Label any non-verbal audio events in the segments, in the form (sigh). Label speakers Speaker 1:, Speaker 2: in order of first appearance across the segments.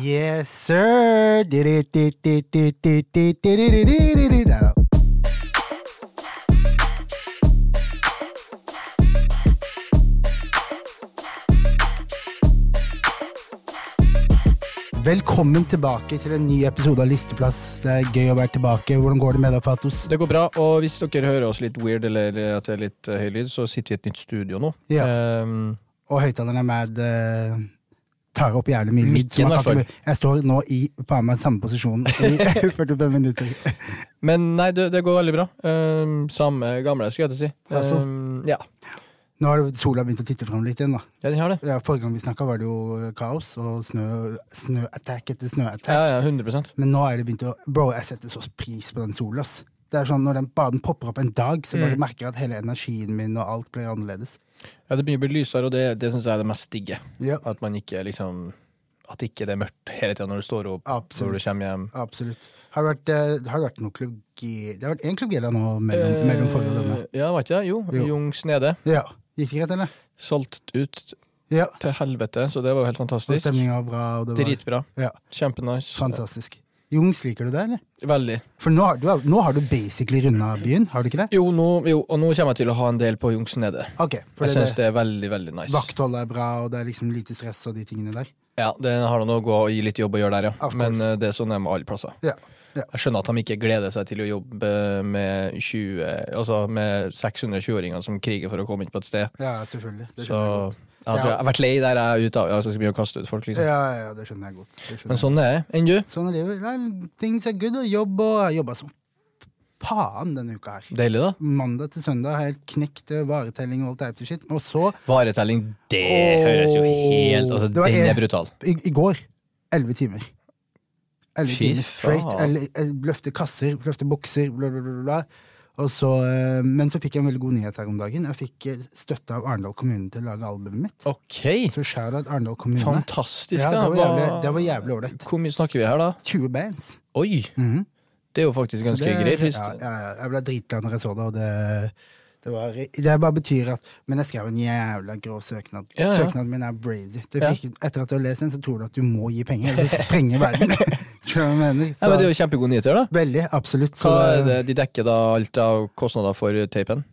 Speaker 1: Yes, sir! Di-di-di-di-di-di-di-di-di-di-di-di-di-di. Velkommen tilbake til en ny episode av Listeplass. Det er gøy å være tilbake. Hvordan går det med deg, Fatos?
Speaker 2: Det går bra, og hvis dere hører oss litt weird eller at det er litt eh, høy lyd, så sitter vi i et nytt studio nå.
Speaker 1: Ja.
Speaker 2: Ehm,
Speaker 1: Og høyttaleren er med eh, tar opp jævlig mye lyd. så man
Speaker 2: Mikken, i hvert
Speaker 1: kan ikke- Jeg står nå i faen meg samme posisjon i (laughs) 45 minutter.
Speaker 2: men nei, det, det går veldig bra. Ehm, samme gamle, skulle jeg til å si.
Speaker 1: Altså?
Speaker 2: Ehm, ja.
Speaker 1: Nå har det- sola begynt å titte fram litt igjen. da.
Speaker 2: ja, den har det.
Speaker 1: Ja, Forrige gang vi snakka, var det jo eh, kaos og snø, snøattack etter snøattack.
Speaker 2: Ja, ja, 100
Speaker 1: Men nå er det begynt å Bro, jeg setter så pris på den sola. ass. Det er sånn, Når den baden popper opp en dag, så bare merker jeg at hele energien min og alt blir annerledes.
Speaker 2: Ja, Det begynner å bli lysere, og det, det syns jeg er det mest digge.
Speaker 1: Ja,
Speaker 2: At man ikke liksom At ikke det er mørkt hele tida når du står opp,
Speaker 1: Absolutt.
Speaker 2: når du kommer hjem.
Speaker 1: absolutt. Har det vært, eh, har det vært noen klubb G... Det har vært én klubb Gela nå mellom, mellom forrige og denne.
Speaker 2: Eh, Ja, var ikke det? Jo.
Speaker 1: Jo.
Speaker 2: Jung Snede.
Speaker 1: Ja. Gikk det greit, eller?
Speaker 2: Solgt ut
Speaker 1: Ja.
Speaker 2: til helvete, så det var jo helt
Speaker 1: Og
Speaker 2: fantastisk.
Speaker 1: stemninga var bra. Og det var,
Speaker 2: Dritbra.
Speaker 1: ja,
Speaker 2: Kjempenice.
Speaker 1: fantastisk. Jungs, liker du det, eller?
Speaker 2: Veldig.
Speaker 1: For nå har du, nå har du basically runda byen, har du ikke det?
Speaker 2: Jo, nå, jo, og nå kommer jeg til å ha en del på Jungsnedet.
Speaker 1: Ok, for
Speaker 2: Jeg
Speaker 1: det,
Speaker 2: syns det er veldig veldig nice.
Speaker 1: vaktholdet er bra, og det er liksom lite stress og de tingene der.
Speaker 2: Ja, Det har noe å gå og gi litt jobb å gjøre der, ja.
Speaker 1: Of course.
Speaker 2: Men eh, det er sånn det er med alle plasser.
Speaker 1: Ja, ja.
Speaker 2: Jeg skjønner at de ikke gleder seg til å jobbe med 20, altså med 620-åringene som kriger for å komme inn på et sted.
Speaker 1: Ja, selvfølgelig. Det
Speaker 2: Så
Speaker 1: skjønner jeg
Speaker 2: jeg,
Speaker 1: godt.
Speaker 2: har-
Speaker 1: Ja.
Speaker 2: jeg har vært lei der jeg er ute av altså, Jeg skal begynne å kaste ut folk,
Speaker 1: Ja,
Speaker 2: liksom.
Speaker 1: ja, ja, det skjønner jeg godt. Det skjønner
Speaker 2: Men
Speaker 1: jeg.
Speaker 2: sånn er det. Enn du?
Speaker 1: Sånn er livet. Nei, Things are good, og jobb og jeg jobba som faen denne uka her.
Speaker 2: Deilig, da.
Speaker 1: Mandag til søndag har jeg helt knekt eh, varetelling og alt type shit. Og så,
Speaker 2: Varetelling, det
Speaker 1: Åh.
Speaker 2: høres jo helt Altså,
Speaker 1: Det var
Speaker 2: den
Speaker 1: en-
Speaker 2: er brutal.
Speaker 1: i, i går, elleve timer. Elleve
Speaker 2: Fy
Speaker 1: timer straight.
Speaker 2: faen.
Speaker 1: Eller, eh, løfte kasser, løfte bokser, bla, bla, bla. bla, bla. Og så, eh, men så fikk jeg en veldig god nyhet her om dagen. Jeg fikk eh, støtte av Arendal kommune til å lage albumet mitt.
Speaker 2: OK.
Speaker 1: Så shout-out Arendal kommune.
Speaker 2: Fantastisk.
Speaker 1: Ja,
Speaker 2: da.
Speaker 1: det var
Speaker 2: Hva-
Speaker 1: jævlig- det var jævlig ålreit.
Speaker 2: Hvor mye snakker vi her, da?
Speaker 1: 20 bands.
Speaker 2: Oi!
Speaker 1: Mhm.
Speaker 2: Det er jo faktisk
Speaker 1: Så
Speaker 2: ganske
Speaker 1: det-
Speaker 2: greit. Hvis,
Speaker 1: Ja, ja, ja. jeg ble dritglad når jeg så det, og det, det var Det bare betyr at Men jeg skrev en jævla grå søknad.
Speaker 2: Ja, ja.
Speaker 1: Søknaden min er brazy. Det
Speaker 2: Ja.
Speaker 1: virker- Etter at du har lest den, så tror du at du må gi penger, ellers
Speaker 2: (laughs)
Speaker 1: så sprenger verden. Tror du hva jeg mener?
Speaker 2: Ja, men det er
Speaker 1: Så,
Speaker 2: jo kjempegode nyheter, da.
Speaker 1: veldig, absolutt.
Speaker 2: Hva
Speaker 1: Så,
Speaker 2: er det De dekker da alt av kostnader for tapen?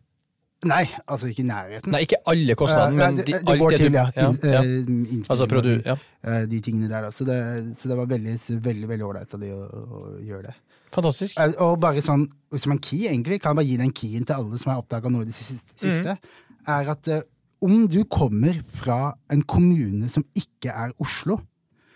Speaker 1: Nei, altså ikke i nærheten.
Speaker 2: Nei, ikke alle kostnadene,
Speaker 1: Ja,
Speaker 2: men
Speaker 1: det,
Speaker 2: de,
Speaker 1: det, det
Speaker 2: alt
Speaker 1: går
Speaker 2: det
Speaker 1: til,
Speaker 2: du-
Speaker 1: ja. In,
Speaker 2: ja,
Speaker 1: eh,
Speaker 2: ja. Altså,
Speaker 1: innspilling og
Speaker 2: produ...
Speaker 1: de-
Speaker 2: Ja.
Speaker 1: eh, de tingene der, da. Så det, så det var veldig veldig, veldig ålreit av de å, å gjøre det.
Speaker 2: Fantastisk.
Speaker 1: Eh, Og bare sånn, som en key egentlig, kan jeg bare gi den keyen til alle som har oppdaga noe i det siste, siste, er at eh, om du kommer fra en kommune som ikke er Oslo,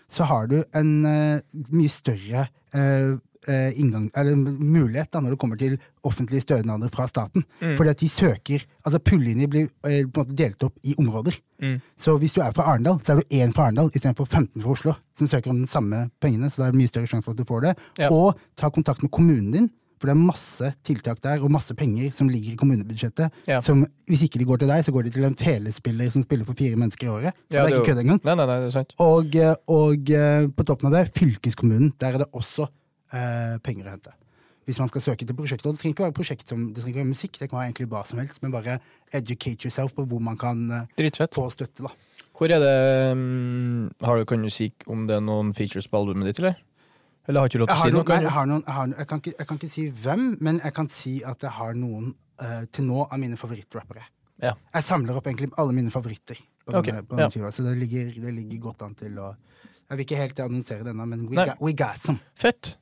Speaker 1: så har du en eh, mye større eh, eh, inngang, eller mulighet da, når det kommer til offentlige stønader fra staten.
Speaker 2: Mm.
Speaker 1: Fordi at de søker Altså pullinjer blir eh, på en måte delt opp i områder.
Speaker 2: Mm.
Speaker 1: Så hvis du er fra Arendal, så er du én fra Arendal istedenfor 15 fra Oslo, som søker om de samme pengene, så det er mye større sjanse for at du får det.
Speaker 2: Ja.
Speaker 1: Og ta kontakt med kommunen din, for det er masse tiltak der, og masse penger som ligger i kommunebudsjettet,
Speaker 2: Ja.
Speaker 1: som hvis ikke de går til deg, så går de til en telespiller som spiller for fire mennesker i året.
Speaker 2: Ja,
Speaker 1: det er
Speaker 2: jo-
Speaker 1: ikke kødd engang.
Speaker 2: Nei, nei, nei, det er sant.
Speaker 1: Og, eh, og eh, på toppen av det, fylkeskommunen. Der er det også eh, penger å hente. Hvis man skal søke til prosjekter. Og det trenger ikke være prosjekt som, det trenger ikke være musikk, det kan være egentlig hva som helst, men bare educate yourself på hvor man kan eh,
Speaker 2: Dritfett.
Speaker 1: få støtte. da.
Speaker 2: Hvor er det mm, har du, Kan du si om det er noen features på albumet ditt, eller? Eller har ikke du lov
Speaker 1: Jeg
Speaker 2: til å si
Speaker 1: har noen, nei, jeg,
Speaker 2: noe? kanskje?
Speaker 1: har noen, jeg, har, noen- jeg, kan ikke, jeg kan ikke si hvem, men jeg kan si at jeg har noen eh, til nå av mine favorittrappere.
Speaker 2: Ja.
Speaker 1: Jeg samler opp egentlig alle mine favoritter, på denne,
Speaker 2: Ok,
Speaker 1: på denne
Speaker 2: ja.
Speaker 1: skiva, så det ligger, det ligger godt an til å Jeg vil ikke helt annonsere det ennå, men we
Speaker 2: Nei.
Speaker 1: got, we got some.
Speaker 2: Fett.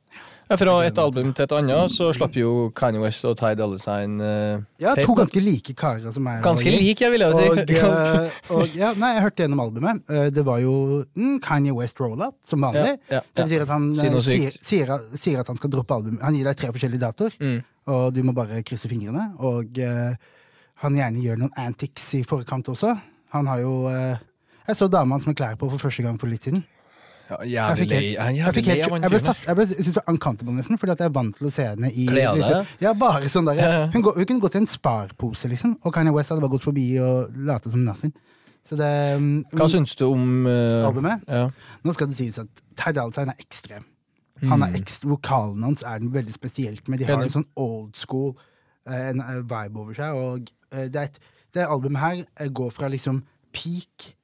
Speaker 2: Ja, Fra et album til et annet, så slapp jo Kanye West og Ty Dolla Sign eh,
Speaker 1: Ja,
Speaker 2: tape.
Speaker 1: to ganske like karer som er
Speaker 2: Ganske lik, jeg vil jo si. (laughs)
Speaker 1: Og,
Speaker 2: Ganske-
Speaker 1: eh, og ja, nei, jeg hørte gjennom albumet. Eh, Det var jo mm, Kanye West rollout, som vanlig.
Speaker 2: Ja, ja,
Speaker 1: Det betyr at han
Speaker 2: Si noe
Speaker 1: eh, sier,
Speaker 2: sykt.
Speaker 1: sier, sier at han skal droppe albumet. Han gir deg tre forskjellige datoer,
Speaker 2: Mm.
Speaker 1: og du må bare krysse fingrene. Og eh, han gjerne gjør noen antics i forkant også. Han har jo eh, Jeg så dama hans med klær på for første gang for litt siden.
Speaker 2: Ja,
Speaker 1: Jeg
Speaker 2: jævlig
Speaker 1: fikk
Speaker 2: lei.
Speaker 1: helt,
Speaker 2: Jeg er
Speaker 1: jeg
Speaker 2: jævlig
Speaker 1: fikk
Speaker 2: lei
Speaker 1: helt,
Speaker 2: av han
Speaker 1: jeg ble
Speaker 2: fyren der.
Speaker 1: satt, jeg ble, jeg synes det var uncountable nesten, fordi at jeg er vant til å se henne i
Speaker 2: Kle av deg?
Speaker 1: liksom, Ja, bare sånn der. Hun, går, hun kunne gått i en sparpose, liksom, og Kanye West hadde bare gått forbi og late som nothing. Så det mm,
Speaker 2: Hva syns du om eh,
Speaker 1: Albumet?
Speaker 2: Ja.
Speaker 1: Nå skal det sies at Ty Dolla Sign er ekstrem. Han er ekst, vokalen hans er den veldig spesielt med. De har
Speaker 2: Mm. Enig.
Speaker 1: en sånn old school eh, en eh, vibe over seg. Og eh, det, er et, det albumet her eh, går fra liksom peak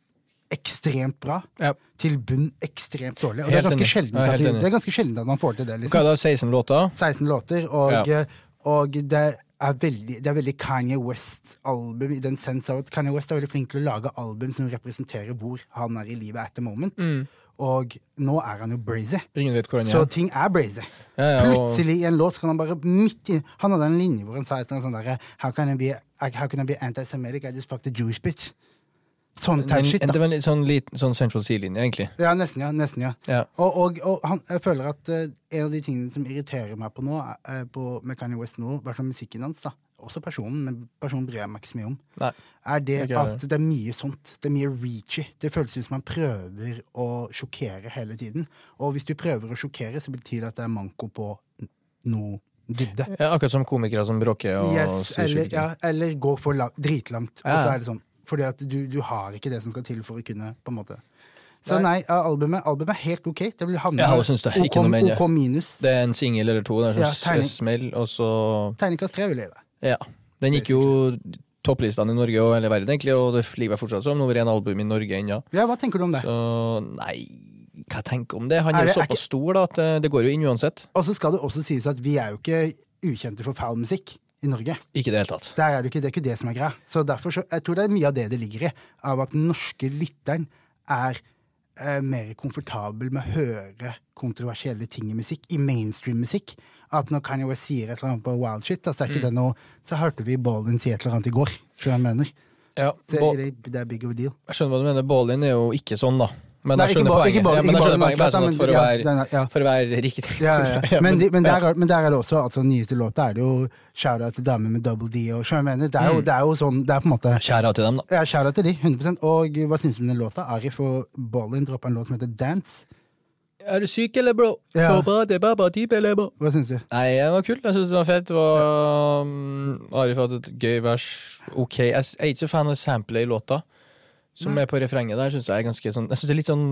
Speaker 1: ekstremt bra
Speaker 2: Ja.
Speaker 1: til bunn ekstremt dårlig. Og det er
Speaker 2: Helt
Speaker 1: ganske
Speaker 2: enig.
Speaker 1: sjelden
Speaker 2: Jeg er
Speaker 1: at,
Speaker 2: helt
Speaker 1: det,
Speaker 2: enig.
Speaker 1: det er ganske sjelden at man får til det.
Speaker 2: Hva
Speaker 1: liksom.
Speaker 2: er det, 16 låter?
Speaker 1: 16 låter, og,
Speaker 2: Ja.
Speaker 1: og det er veldig, det er veldig Kanye West-album i den sense av at Kanye West er veldig flink til å lage album som representerer hvor han er i livet at the moment.
Speaker 2: Mm.
Speaker 1: Og nå er han jo brazy.
Speaker 2: Ingen vet hvor den
Speaker 1: Så
Speaker 2: er.
Speaker 1: ting er brazy.
Speaker 2: Ja, ja, og-
Speaker 1: Plutselig i en låt så kan han bare midt i Han hadde en linje hvor han sa et eller annet sånt derre How can I be, how can I be anti-Semitic? I just fucked a Jewish bitch. Sånn type
Speaker 2: Men,
Speaker 1: shit,
Speaker 2: det
Speaker 1: da.
Speaker 2: var en litt sånn liten sånn Central Sea-linje, egentlig.
Speaker 1: Ja, nesten, ja. Nesten, ja.
Speaker 2: Ja.
Speaker 1: Og, og, og han, jeg føler at eh, en av de tingene som irriterer meg på nå, eh, på med Kanye West nå, i hvert fall musikken hans, da, også personen, men personen bryr jeg meg ikke så mye om,
Speaker 2: Nei.
Speaker 1: er det
Speaker 2: Ikke jeg
Speaker 1: at det er mye sånt. Det er mye reachy. Det føles ut som han prøver å sjokkere hele tiden. Og hvis du prøver å sjokkere, så betyr det at det er manko på n- noe dybde.
Speaker 2: Ja, akkurat som komikere som bråker og
Speaker 1: Yes,
Speaker 2: sier
Speaker 1: eller,
Speaker 2: sjuke ting.
Speaker 1: ja, eller går for lang, dritlangt.
Speaker 2: Ja.
Speaker 1: Og så er det sånn. Fordi at du, du har ikke det som skal til for å kunne på en måte. Så nei,
Speaker 2: Nei.
Speaker 1: ja, albumet, albumet er helt OK. Det vil havne
Speaker 2: Ja, jeg synes det. Ikke noe mer enn det.
Speaker 1: OK minus.
Speaker 2: Det er en singel eller to der som
Speaker 1: Ja, terning.
Speaker 2: s- smell, og så
Speaker 1: Terningkast tre vil jeg gi deg.
Speaker 2: Ja. Den gikk jo topplistene i Norge og hele verden, egentlig, og det ligger fortsatt som nummer én album i Norge ennå.
Speaker 1: Ja, hva tenker du om det?
Speaker 2: Så nei, hva jeg tenker om det? Han
Speaker 1: Er
Speaker 2: er,
Speaker 1: det-
Speaker 2: jo
Speaker 1: er ikke-
Speaker 2: såpass stor da, at eh, det går jo inn uansett.
Speaker 1: Og så skal det også sies at vi er jo ikke ukjente for foul musikk i Norge.
Speaker 2: Ikke i det hele tatt.
Speaker 1: Der er det, ikke, det er ikke det som er greia. Så derfor så, jeg tror det er mye av det det ligger i. Av at den norske lytteren er eh, mer komfortabel med å høre kontroversielle ting i musikk, i mainstream-musikk. At når Kanye West sier et eller annet på Wild Shit, da, så, er ikke det noe, så hørte vi Ballin si et eller annet i går. Skjønner du hva jeg mener?
Speaker 2: Ja,
Speaker 1: Så
Speaker 2: Bo-
Speaker 1: det, det er big of a deal.
Speaker 2: jeg skjønner hva du mener. Ballin er jo ikke sånn, da. Men
Speaker 1: Nei,
Speaker 2: jeg
Speaker 1: ikke
Speaker 2: skjønner
Speaker 1: Ball-
Speaker 2: poenget.
Speaker 1: ikke Ball-
Speaker 2: ja,
Speaker 1: ikke
Speaker 2: men jeg skjønner
Speaker 1: Ballin,
Speaker 2: poenget. Bare sånn
Speaker 1: men-
Speaker 2: at
Speaker 1: ja,
Speaker 2: for, å
Speaker 1: den
Speaker 2: være,
Speaker 1: er- ja.
Speaker 2: for å være riktig.
Speaker 1: (laughs) Ja, ja,
Speaker 2: (laughs)
Speaker 1: ja. Men, de, men,
Speaker 2: ja.
Speaker 1: der, er- men der er det også altså, den nyeste låta er det jo shout-out til damer med double D og skjønner du hva jeg mener? Det er jo, det er jo sånn, det er på en måte
Speaker 2: Skjæra til dem, da.
Speaker 1: Ja, kjære til de, 100 Og hva syns du om den låta? Arif og Ballin droppa en låt som heter Dance.
Speaker 2: Er du syk, eller, bro?
Speaker 1: Ja.
Speaker 2: Baba, de baba, de bele, bro.
Speaker 1: Hva syns du?
Speaker 2: Nei, det var kult. Jeg synes det var fett. Det var, um, Arif hadde et gøy vers. Ok, jeg s- jeg er ikke så fan av samplet i låta. Som er på refrenget der, synes jeg er ganske sånn Jeg synes det er litt sånn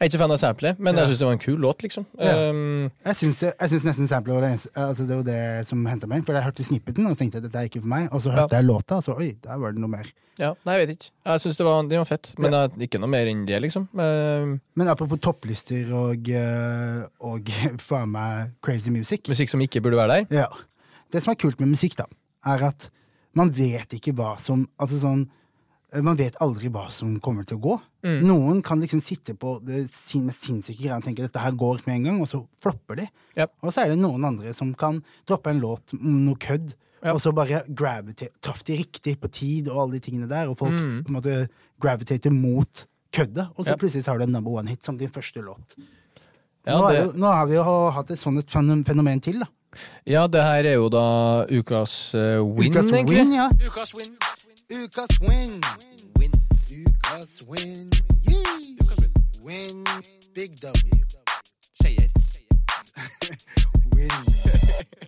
Speaker 2: Jeg er ikke så fan av samplet, men jeg synes det var en kul låt, liksom.
Speaker 1: Ja.
Speaker 2: Um,
Speaker 1: Jeg syns, jeg syns nesten samplet var det, eneste- altså det, var det som henta meg inn. For jeg hørte snippeten og så tenkte jeg dette er ikke for meg. Og så hørte jeg låta, og så oi, der var det noe mer.
Speaker 2: ja. Nei, jeg vet ikke. Jeg synes det var, det var fett, men jeg- ikke noe mer enn det, liksom. Um,
Speaker 1: Men apropos topplister og, eh, og (laughs) faen meg crazy music.
Speaker 2: musikk som ikke burde være der.
Speaker 1: Ja. Det som er kult med musikk, da, er at man vet ikke hva som Altså sånn eh, man vet aldri hva som kommer til å gå.
Speaker 2: Mm.
Speaker 1: Noen kan liksom sitte på det sin, med sinnssyke greier og tenke dette her går med en gang, og så flopper de.
Speaker 2: Ja.
Speaker 1: Og så er det noen andre som kan droppe en låt om noe kødd, og så bare gravitate, traff de riktig på tid og alle de tingene der, og folk på en måte gravitater mot køddet, og så
Speaker 2: Mm. Ja.
Speaker 1: plutselig så har du en number one hit som din første låt.
Speaker 2: Ja,
Speaker 1: nå, er
Speaker 2: det-
Speaker 1: jo, nå har vi jo hatt et sånt et fenomen- fenomen til, da.
Speaker 2: Ja, det her er jo da ukas eh, win,
Speaker 1: Ukas
Speaker 2: egentlig.
Speaker 1: win, ja.
Speaker 2: Ukas win.
Speaker 1: Ukas win. Ukas win. Win. Big W.
Speaker 2: Seier.
Speaker 1: Win.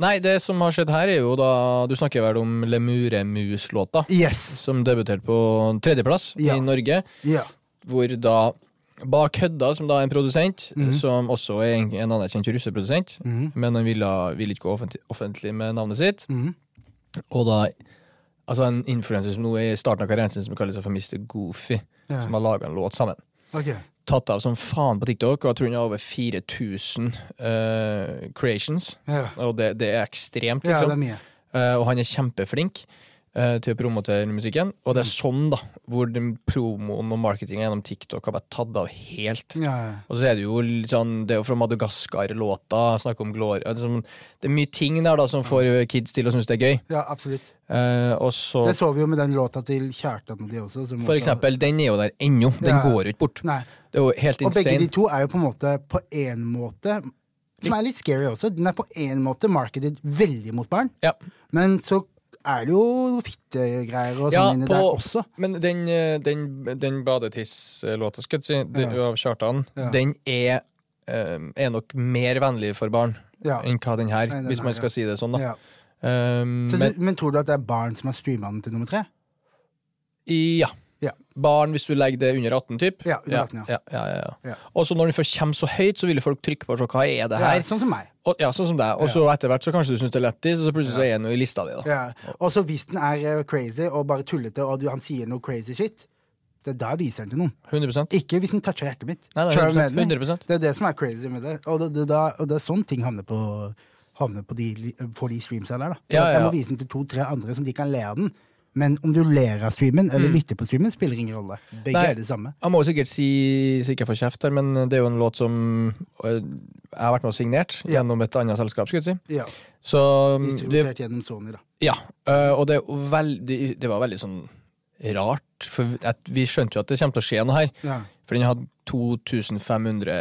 Speaker 2: Nei, det som har skjedd her, er jo da Du snakker vel om Lemuremus-låta?
Speaker 1: Yes.
Speaker 2: Som debuterte på tredjeplass
Speaker 1: Ja.
Speaker 2: i Norge.
Speaker 1: Ja.
Speaker 2: Hvor da Bak Hødda, som da er en produsent,
Speaker 1: Mhm.
Speaker 2: som også er en, en anerkjent russeprodusent, men han ville, ville ikke gå offentlig, offentlig med navnet sitt.
Speaker 1: Mhm.
Speaker 2: Og da Altså en influenser som nå er i starten av karrieren sin, som kaller seg for Mr. Goofy,
Speaker 1: Ja.
Speaker 2: som har laga en låt sammen.
Speaker 1: Ok.
Speaker 2: tatt av som faen på TikTok, og jeg tror den har over 4000 eh, creations.
Speaker 1: Ja.
Speaker 2: Og det, det er ekstremt,
Speaker 1: ja, det
Speaker 2: liksom.
Speaker 1: er mye.
Speaker 2: Eh, og han er kjempeflink eh, til å promotere musikken. Og det er
Speaker 1: Mm.
Speaker 2: sånn, da, hvor den promoen og marketingen gjennom TikTok har vært tatt av helt.
Speaker 1: Ja, ja.
Speaker 2: Og så er det jo litt sånn Det er jo fra Madagaskar-låta, snakk om Gloria det er sånn- Det er mye ting der da som får kids til å synes det er gøy.
Speaker 1: ja, absolutt.
Speaker 2: Eh, og så
Speaker 1: Det så vi jo med den låta til Kjartan og de også. som
Speaker 2: For
Speaker 1: også-
Speaker 2: eksempel, den er jo der ennå. Den
Speaker 1: Ja.
Speaker 2: går jo ikke bort.
Speaker 1: Nei.
Speaker 2: Det er jo helt
Speaker 1: Og begge de
Speaker 2: insane.
Speaker 1: to er jo på en måte på en måte Som er litt scary også. Den er på en måte markedet veldig mot barn,
Speaker 2: Ja.
Speaker 1: men så er det jo fittegreier og sånn
Speaker 2: Ja,
Speaker 1: inni
Speaker 2: på-
Speaker 1: der også.
Speaker 2: Men den, eh, den, den badetiss-låta skal jeg si, det-
Speaker 1: Ja.
Speaker 2: av Kjartan,
Speaker 1: Ja.
Speaker 2: den er, eh, er nok mer vennlig for barn
Speaker 1: Ja.
Speaker 2: enn hva den her,
Speaker 1: Nei, den
Speaker 2: hvis man
Speaker 1: her,
Speaker 2: skal si det sånn. da.
Speaker 1: Ja.
Speaker 2: Um,
Speaker 1: Så,
Speaker 2: men,
Speaker 1: du- men tror du at det er barn som har streama den til nummer tre?
Speaker 2: ja.
Speaker 1: Ja.
Speaker 2: Barn, hvis du legger det under 18, typ.
Speaker 1: Ja, under 18, ja.
Speaker 2: ja, ja, ja, ja.
Speaker 1: Ja.
Speaker 2: Og så når den først kommer så høyt, så vil folk trykke på og se hva er det her.
Speaker 1: Ja, sånn som meg.
Speaker 2: Og, ja, sånn som deg. Og så etter hvert så kanskje du syns det er lættis, og så plutselig så er den jo i lista di. da.
Speaker 1: Ja. Og så hvis den er eh, crazy og bare tullete, og du, han sier noe crazy shit, Det er da jeg viser den til noen.
Speaker 2: 100
Speaker 1: Ikke hvis den toucher hjertet mitt.
Speaker 2: Nei, nei,
Speaker 1: Skjønner du hva
Speaker 2: 100%,
Speaker 1: jeg mener?
Speaker 2: 100%.
Speaker 1: Det er det som er crazy med det. Og det, det, da, og det er sånn ting havner på, havner på de, li- på de streamsa der. Da. For
Speaker 2: Ja,
Speaker 1: at Jeg
Speaker 2: ja.
Speaker 1: må vise den til to-tre andre som de kan le av den. Men om du ler av streamen eller lytter på streamen, spiller ingen rolle. Begge
Speaker 2: Mm. Nei.
Speaker 1: er det samme.
Speaker 2: Jeg må jo sikkert si, så ikke jeg får kjeft her, men det er jo en låt som øh, jeg har vært med og signert
Speaker 1: Ja.
Speaker 2: gjennom et annet selskap, skulle jeg si.
Speaker 1: Ja,
Speaker 2: Så mm, det,
Speaker 1: Distributert gjennom Sony, da.
Speaker 2: ja, øh, og det, er jo veldig, det var veldig sånn rart, for at vi skjønte jo at det kommer til å skje noe her.
Speaker 1: Ja.
Speaker 2: For den hadde 2500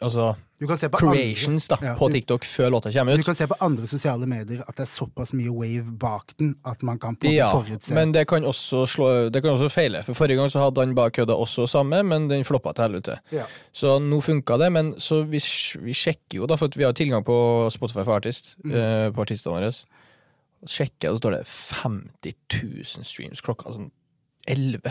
Speaker 2: altså,
Speaker 1: Du kan se på
Speaker 2: creations da,
Speaker 1: andre, ja,
Speaker 2: på
Speaker 1: du-
Speaker 2: TikTok før låta kommer
Speaker 1: Du
Speaker 2: ut.
Speaker 1: kan se på andre sosiale medier at det er såpass mye wave bak den at man kan på en måte
Speaker 2: Ja,
Speaker 1: forutse
Speaker 2: men det kan, også slå, det kan også feile. For Forrige gang så hadde han bare kødda også samme, men den floppa til helvete.
Speaker 1: Ja.
Speaker 2: Så nå funka det, men så vi, sj- vi sjekker jo, da, for at vi har tilgang på Spotify for Artist,
Speaker 1: Mm.
Speaker 2: eh, på artistene våre. Så sjekker jeg, og så står det 50 000 streams klokka sånn 11-12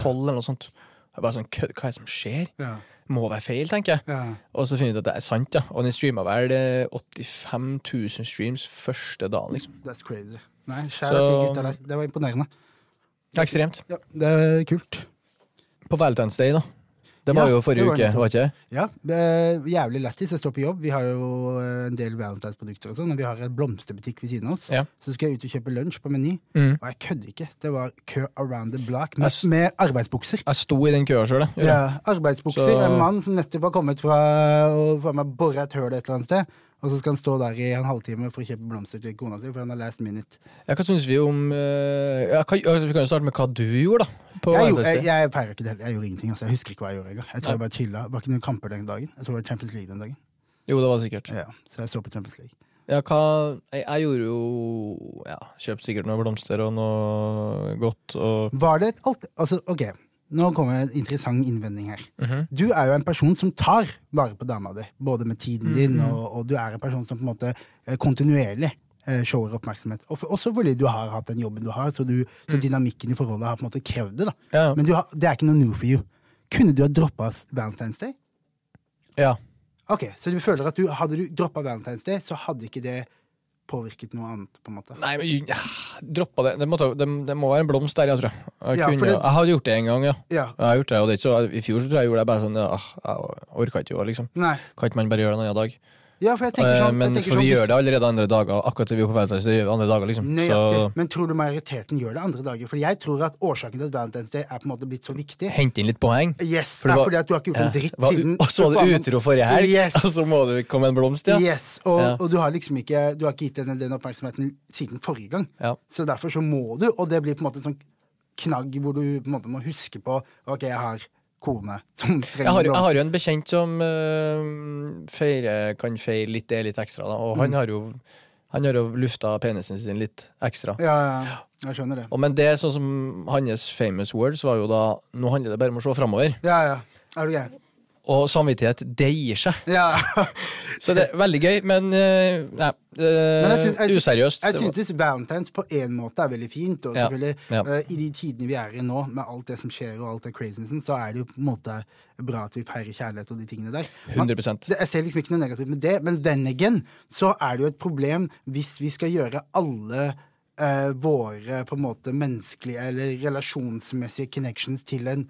Speaker 2: eller noe sånt. Jeg bare sånn, kødd, hva er det som skjer?
Speaker 1: Ja.
Speaker 2: Må være feil, tenker jeg.
Speaker 1: Ja.
Speaker 2: Og så finner jeg ut at det er sant, ja. Og den streama vel eh, 85 000 streams første dagen, liksom.
Speaker 1: That's crazy. Nei, skjær
Speaker 2: Så-
Speaker 1: av de gutta der. Det var imponerende.
Speaker 2: Ekstremt.
Speaker 1: Ja, det er kult.
Speaker 2: På Valentine's Day, da. Det var
Speaker 1: Ja,
Speaker 2: jo
Speaker 1: det
Speaker 2: forrige
Speaker 1: var
Speaker 2: uke,
Speaker 1: nettopp.
Speaker 2: var ikke det?
Speaker 1: Ja, det er jævlig lættis. Jeg står på jobb. Vi har jo eh, en del Valentine's-produkter og sånn, og vi har en blomsterbutikk ved siden av oss.
Speaker 2: Ja.
Speaker 1: Så skulle jeg ut og kjøpe lunsj på Meny,
Speaker 2: Mm.
Speaker 1: og jeg kødder ikke. Det var kø around the block med,
Speaker 2: Ass.
Speaker 1: med arbeidsbukser.
Speaker 2: Jeg sto i den køa sjøl, jeg.
Speaker 1: Ja, arbeidsbukser.
Speaker 2: Så-
Speaker 1: En mann som nettopp har kommet fra å faen meg borre et høl et eller annet sted, og så skal han stå der i en halvtime for å kjøpe blomster til kona si, for han har last minute.
Speaker 2: Ja, hva syns vi om eh, ja, hva, ja, Vi kan jo starte med hva du gjorde, da. På
Speaker 1: Jeg, gjorde,
Speaker 2: Valentine's
Speaker 1: jeg,
Speaker 2: Day.
Speaker 1: jeg feirer ikke det heller. Jeg gjorde ingenting. altså. Jeg husker ikke hva jeg gjorde engang. Jeg tror jeg bare chilla. Det var ikke noen kamper den dagen. Jeg tror det var Champions League den dagen.
Speaker 2: Jo, det var det sikkert.
Speaker 1: Ja, så jeg så på Champions League.
Speaker 2: Ja, hva, jeg, jeg gjorde jo ja, Kjøpte sikkert noen blomster og noe godt og
Speaker 1: Var det et alt... Altså, ok. Nå kommer en interessant innvending her.
Speaker 2: Mhm.
Speaker 1: Du er jo en person som tar vare på dama di, både med tiden din,
Speaker 2: Mhm.
Speaker 1: og, og du er en person som på en måte eh, kontinuerlig eh, shower oppmerksomhet. Og for- Også fordi du har hatt den jobben du har, så, du, så dynamikken i forholdet har på en måte krevd det. da.
Speaker 2: Mhm. Ja.
Speaker 1: Men du har, det er ikke noe new for you. Kunne du ha droppa Valentine's Day?
Speaker 2: Ja.
Speaker 1: Ok, Så du føler at du, hadde du droppa Valentine's Day, så hadde ikke det påvirket noe annet? på en måte?
Speaker 2: Nei, men ja, droppa det. Det må, ta, det, det må være en blomst der, ja, tror jeg. Jeg,
Speaker 1: Ja, for
Speaker 2: kunne,
Speaker 1: det-
Speaker 2: jeg hadde gjort det en gang, ja.
Speaker 1: Ja.
Speaker 2: Jeg har gjort det, og det er ikke så, I fjor så tror jeg jeg gjorde det bare sånn ja, Jeg orka ikke jo, liksom.
Speaker 1: Nei.
Speaker 2: Kan ikke man bare gjøre det en annen dag?
Speaker 1: Ja, for jeg tenker
Speaker 2: Eh,
Speaker 1: sånn,
Speaker 2: men
Speaker 1: jeg tenker
Speaker 2: for
Speaker 1: sånn
Speaker 2: vi
Speaker 1: hvis-
Speaker 2: gjør det allerede andre dager. Akkurat det vi er på Valentine's Day, andre dager, liksom.
Speaker 1: Nøyaktig.
Speaker 2: Så
Speaker 1: Men tror du majoriteten gjør det andre dager? Fordi jeg tror at årsaken til at Valentine's Day er på en måte blitt så viktig.
Speaker 2: hent inn litt poeng.
Speaker 1: Yes,
Speaker 2: det
Speaker 1: er
Speaker 2: var-
Speaker 1: fordi at du har ikke gjort en dritt
Speaker 2: Hva-
Speaker 1: siden
Speaker 2: Og (laughs) så var
Speaker 1: faen,
Speaker 2: du
Speaker 1: men-
Speaker 2: utro forrige helg,
Speaker 1: Yes.
Speaker 2: (laughs) og så må det komme en blomst, ja.
Speaker 1: Yes, og,
Speaker 2: Ja.
Speaker 1: og du har liksom ikke Du har ikke gitt henne den oppmerksomheten siden forrige gang.
Speaker 2: Ja.
Speaker 1: Så derfor så må du, og det blir på en måte en sånn knagg hvor du på en måte må huske på Ok, jeg har kone som
Speaker 2: Jeg
Speaker 1: trenger
Speaker 2: har, jeg har
Speaker 1: blomster.
Speaker 2: jo en bekjent som øh, feirer, kan feire litt det litt ekstra, da. og
Speaker 1: Mm.
Speaker 2: han har jo Han har jo lufta penisen sin litt ekstra.
Speaker 1: Ja, ja, jeg skjønner det.
Speaker 2: Og men det sånn som hans famous words var jo da Nå handler det bare om å se framover.
Speaker 1: Ja, ja. Er du gæren?
Speaker 2: Og samvittighet, det gir seg.
Speaker 1: Ja. (laughs)
Speaker 2: Så det er veldig gøy, men øh, Nei. øh,
Speaker 1: Men jeg syns- jeg syns-
Speaker 2: useriøst.
Speaker 1: Jeg
Speaker 2: Det var-
Speaker 1: synes Valentine's på en måte er veldig fint, og
Speaker 2: Ja,
Speaker 1: selvfølgelig
Speaker 2: ja.
Speaker 1: eh, i de tidene vi er i nå, med alt det som skjer og alt det crazinessen, så er det jo på en måte bra at vi feirer kjærlighet og de tingene der. Man-
Speaker 2: 100%.
Speaker 1: det- Jeg ser liksom ikke noe negativt med det, men then again så er det jo et problem hvis vi skal gjøre alle eh, våre på en måte menneskelige eller relasjonsmessige connections til en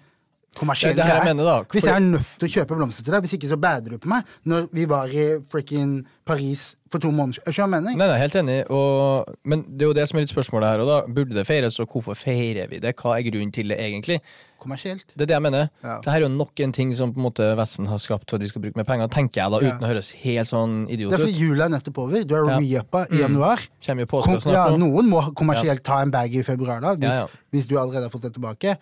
Speaker 1: kommersiell
Speaker 2: Det er det her jeg mener, da.
Speaker 1: Hvis
Speaker 2: For-
Speaker 1: jeg er nødt til å kjøpe blomster til deg, hvis ikke så bader du på meg. Når vi var i frickin' Paris for to måneder siden. Skjønner du hva jeg mener?
Speaker 2: Nei, nei, helt enig, og, men det er jo det som er litt spørsmålet her. Og da, Burde det feires, og hvorfor feirer vi det? Hva er grunnen til det, egentlig?
Speaker 1: kommersielt.
Speaker 2: Det er det jeg mener.
Speaker 1: Ja.
Speaker 2: Dette er jo nok en ting som på en måte Vesten har skapt for at vi skal bruke mer penger, tenker jeg da, uten å høres helt sånn
Speaker 1: Det
Speaker 2: idiot
Speaker 1: er
Speaker 2: ut.
Speaker 1: fordi jula er nettopp over. Du er
Speaker 2: Ja. Mm.
Speaker 1: re-uppa i januar.
Speaker 2: Kommer jo
Speaker 1: Kom,
Speaker 2: påske og
Speaker 1: ja,
Speaker 2: snart nå.
Speaker 1: noen må kommersielt ta en bag i februar, da, hvis,
Speaker 2: Ja, ja.
Speaker 1: hvis du allerede har fått det tilbake.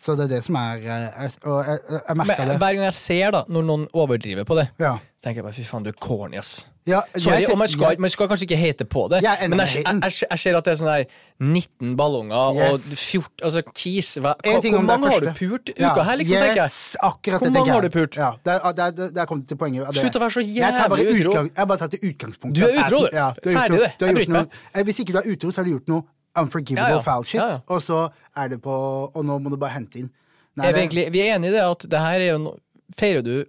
Speaker 1: Så det er det som er eh, jeg- Og jeg, jeg- jeg
Speaker 2: Men eh,
Speaker 1: merka det.
Speaker 2: hver gang jeg ser da, når noen overdriver på det,
Speaker 1: Ja.
Speaker 2: så tenker jeg bare fy faen, du er corny, ass.
Speaker 1: Ja,
Speaker 2: Sorry, oh
Speaker 1: jeg-
Speaker 2: og man skal,
Speaker 1: jeg-
Speaker 2: man skal kanskje ikke hete på det,
Speaker 1: Jeg er enig
Speaker 2: men
Speaker 1: med
Speaker 2: jeg, jeg,
Speaker 1: haten.
Speaker 2: jeg, jeg ser at det er sånn der 19 ballonger og
Speaker 1: Yes.
Speaker 2: 14 Altså, kis hva,
Speaker 1: En ting
Speaker 2: Hvor
Speaker 1: om det
Speaker 2: mange har du
Speaker 1: første.
Speaker 2: pult uka
Speaker 1: Ja,
Speaker 2: her, liksom, tenker jeg.
Speaker 1: yes, akkurat det
Speaker 2: Hvor
Speaker 1: tenker
Speaker 2: mange har
Speaker 1: jeg.
Speaker 2: du pult?
Speaker 1: Ja, der, der, der, der kom det til poenget. av det.
Speaker 2: Slutt å være så
Speaker 1: Jeg tar bare
Speaker 2: jævlig utro.
Speaker 1: utgang- Jeg har bare tatt det utgangspunktet.
Speaker 2: Du er utro, du.
Speaker 1: Ja, du har gjort
Speaker 2: Ferdig
Speaker 1: noe-
Speaker 2: det.
Speaker 1: du har
Speaker 2: Jeg
Speaker 1: gjort
Speaker 2: bryr meg.
Speaker 1: noe- Eh, Hvis ikke du er utro, så har du gjort noe unforgivable
Speaker 2: Ja, ja.
Speaker 1: foul shit,
Speaker 2: Ja, ja.
Speaker 1: og så er det på Og nå må du bare hente inn. Nei,
Speaker 2: er vi,
Speaker 1: det-
Speaker 2: egentlig, vi er enige i det at det her er jo no, Feirer du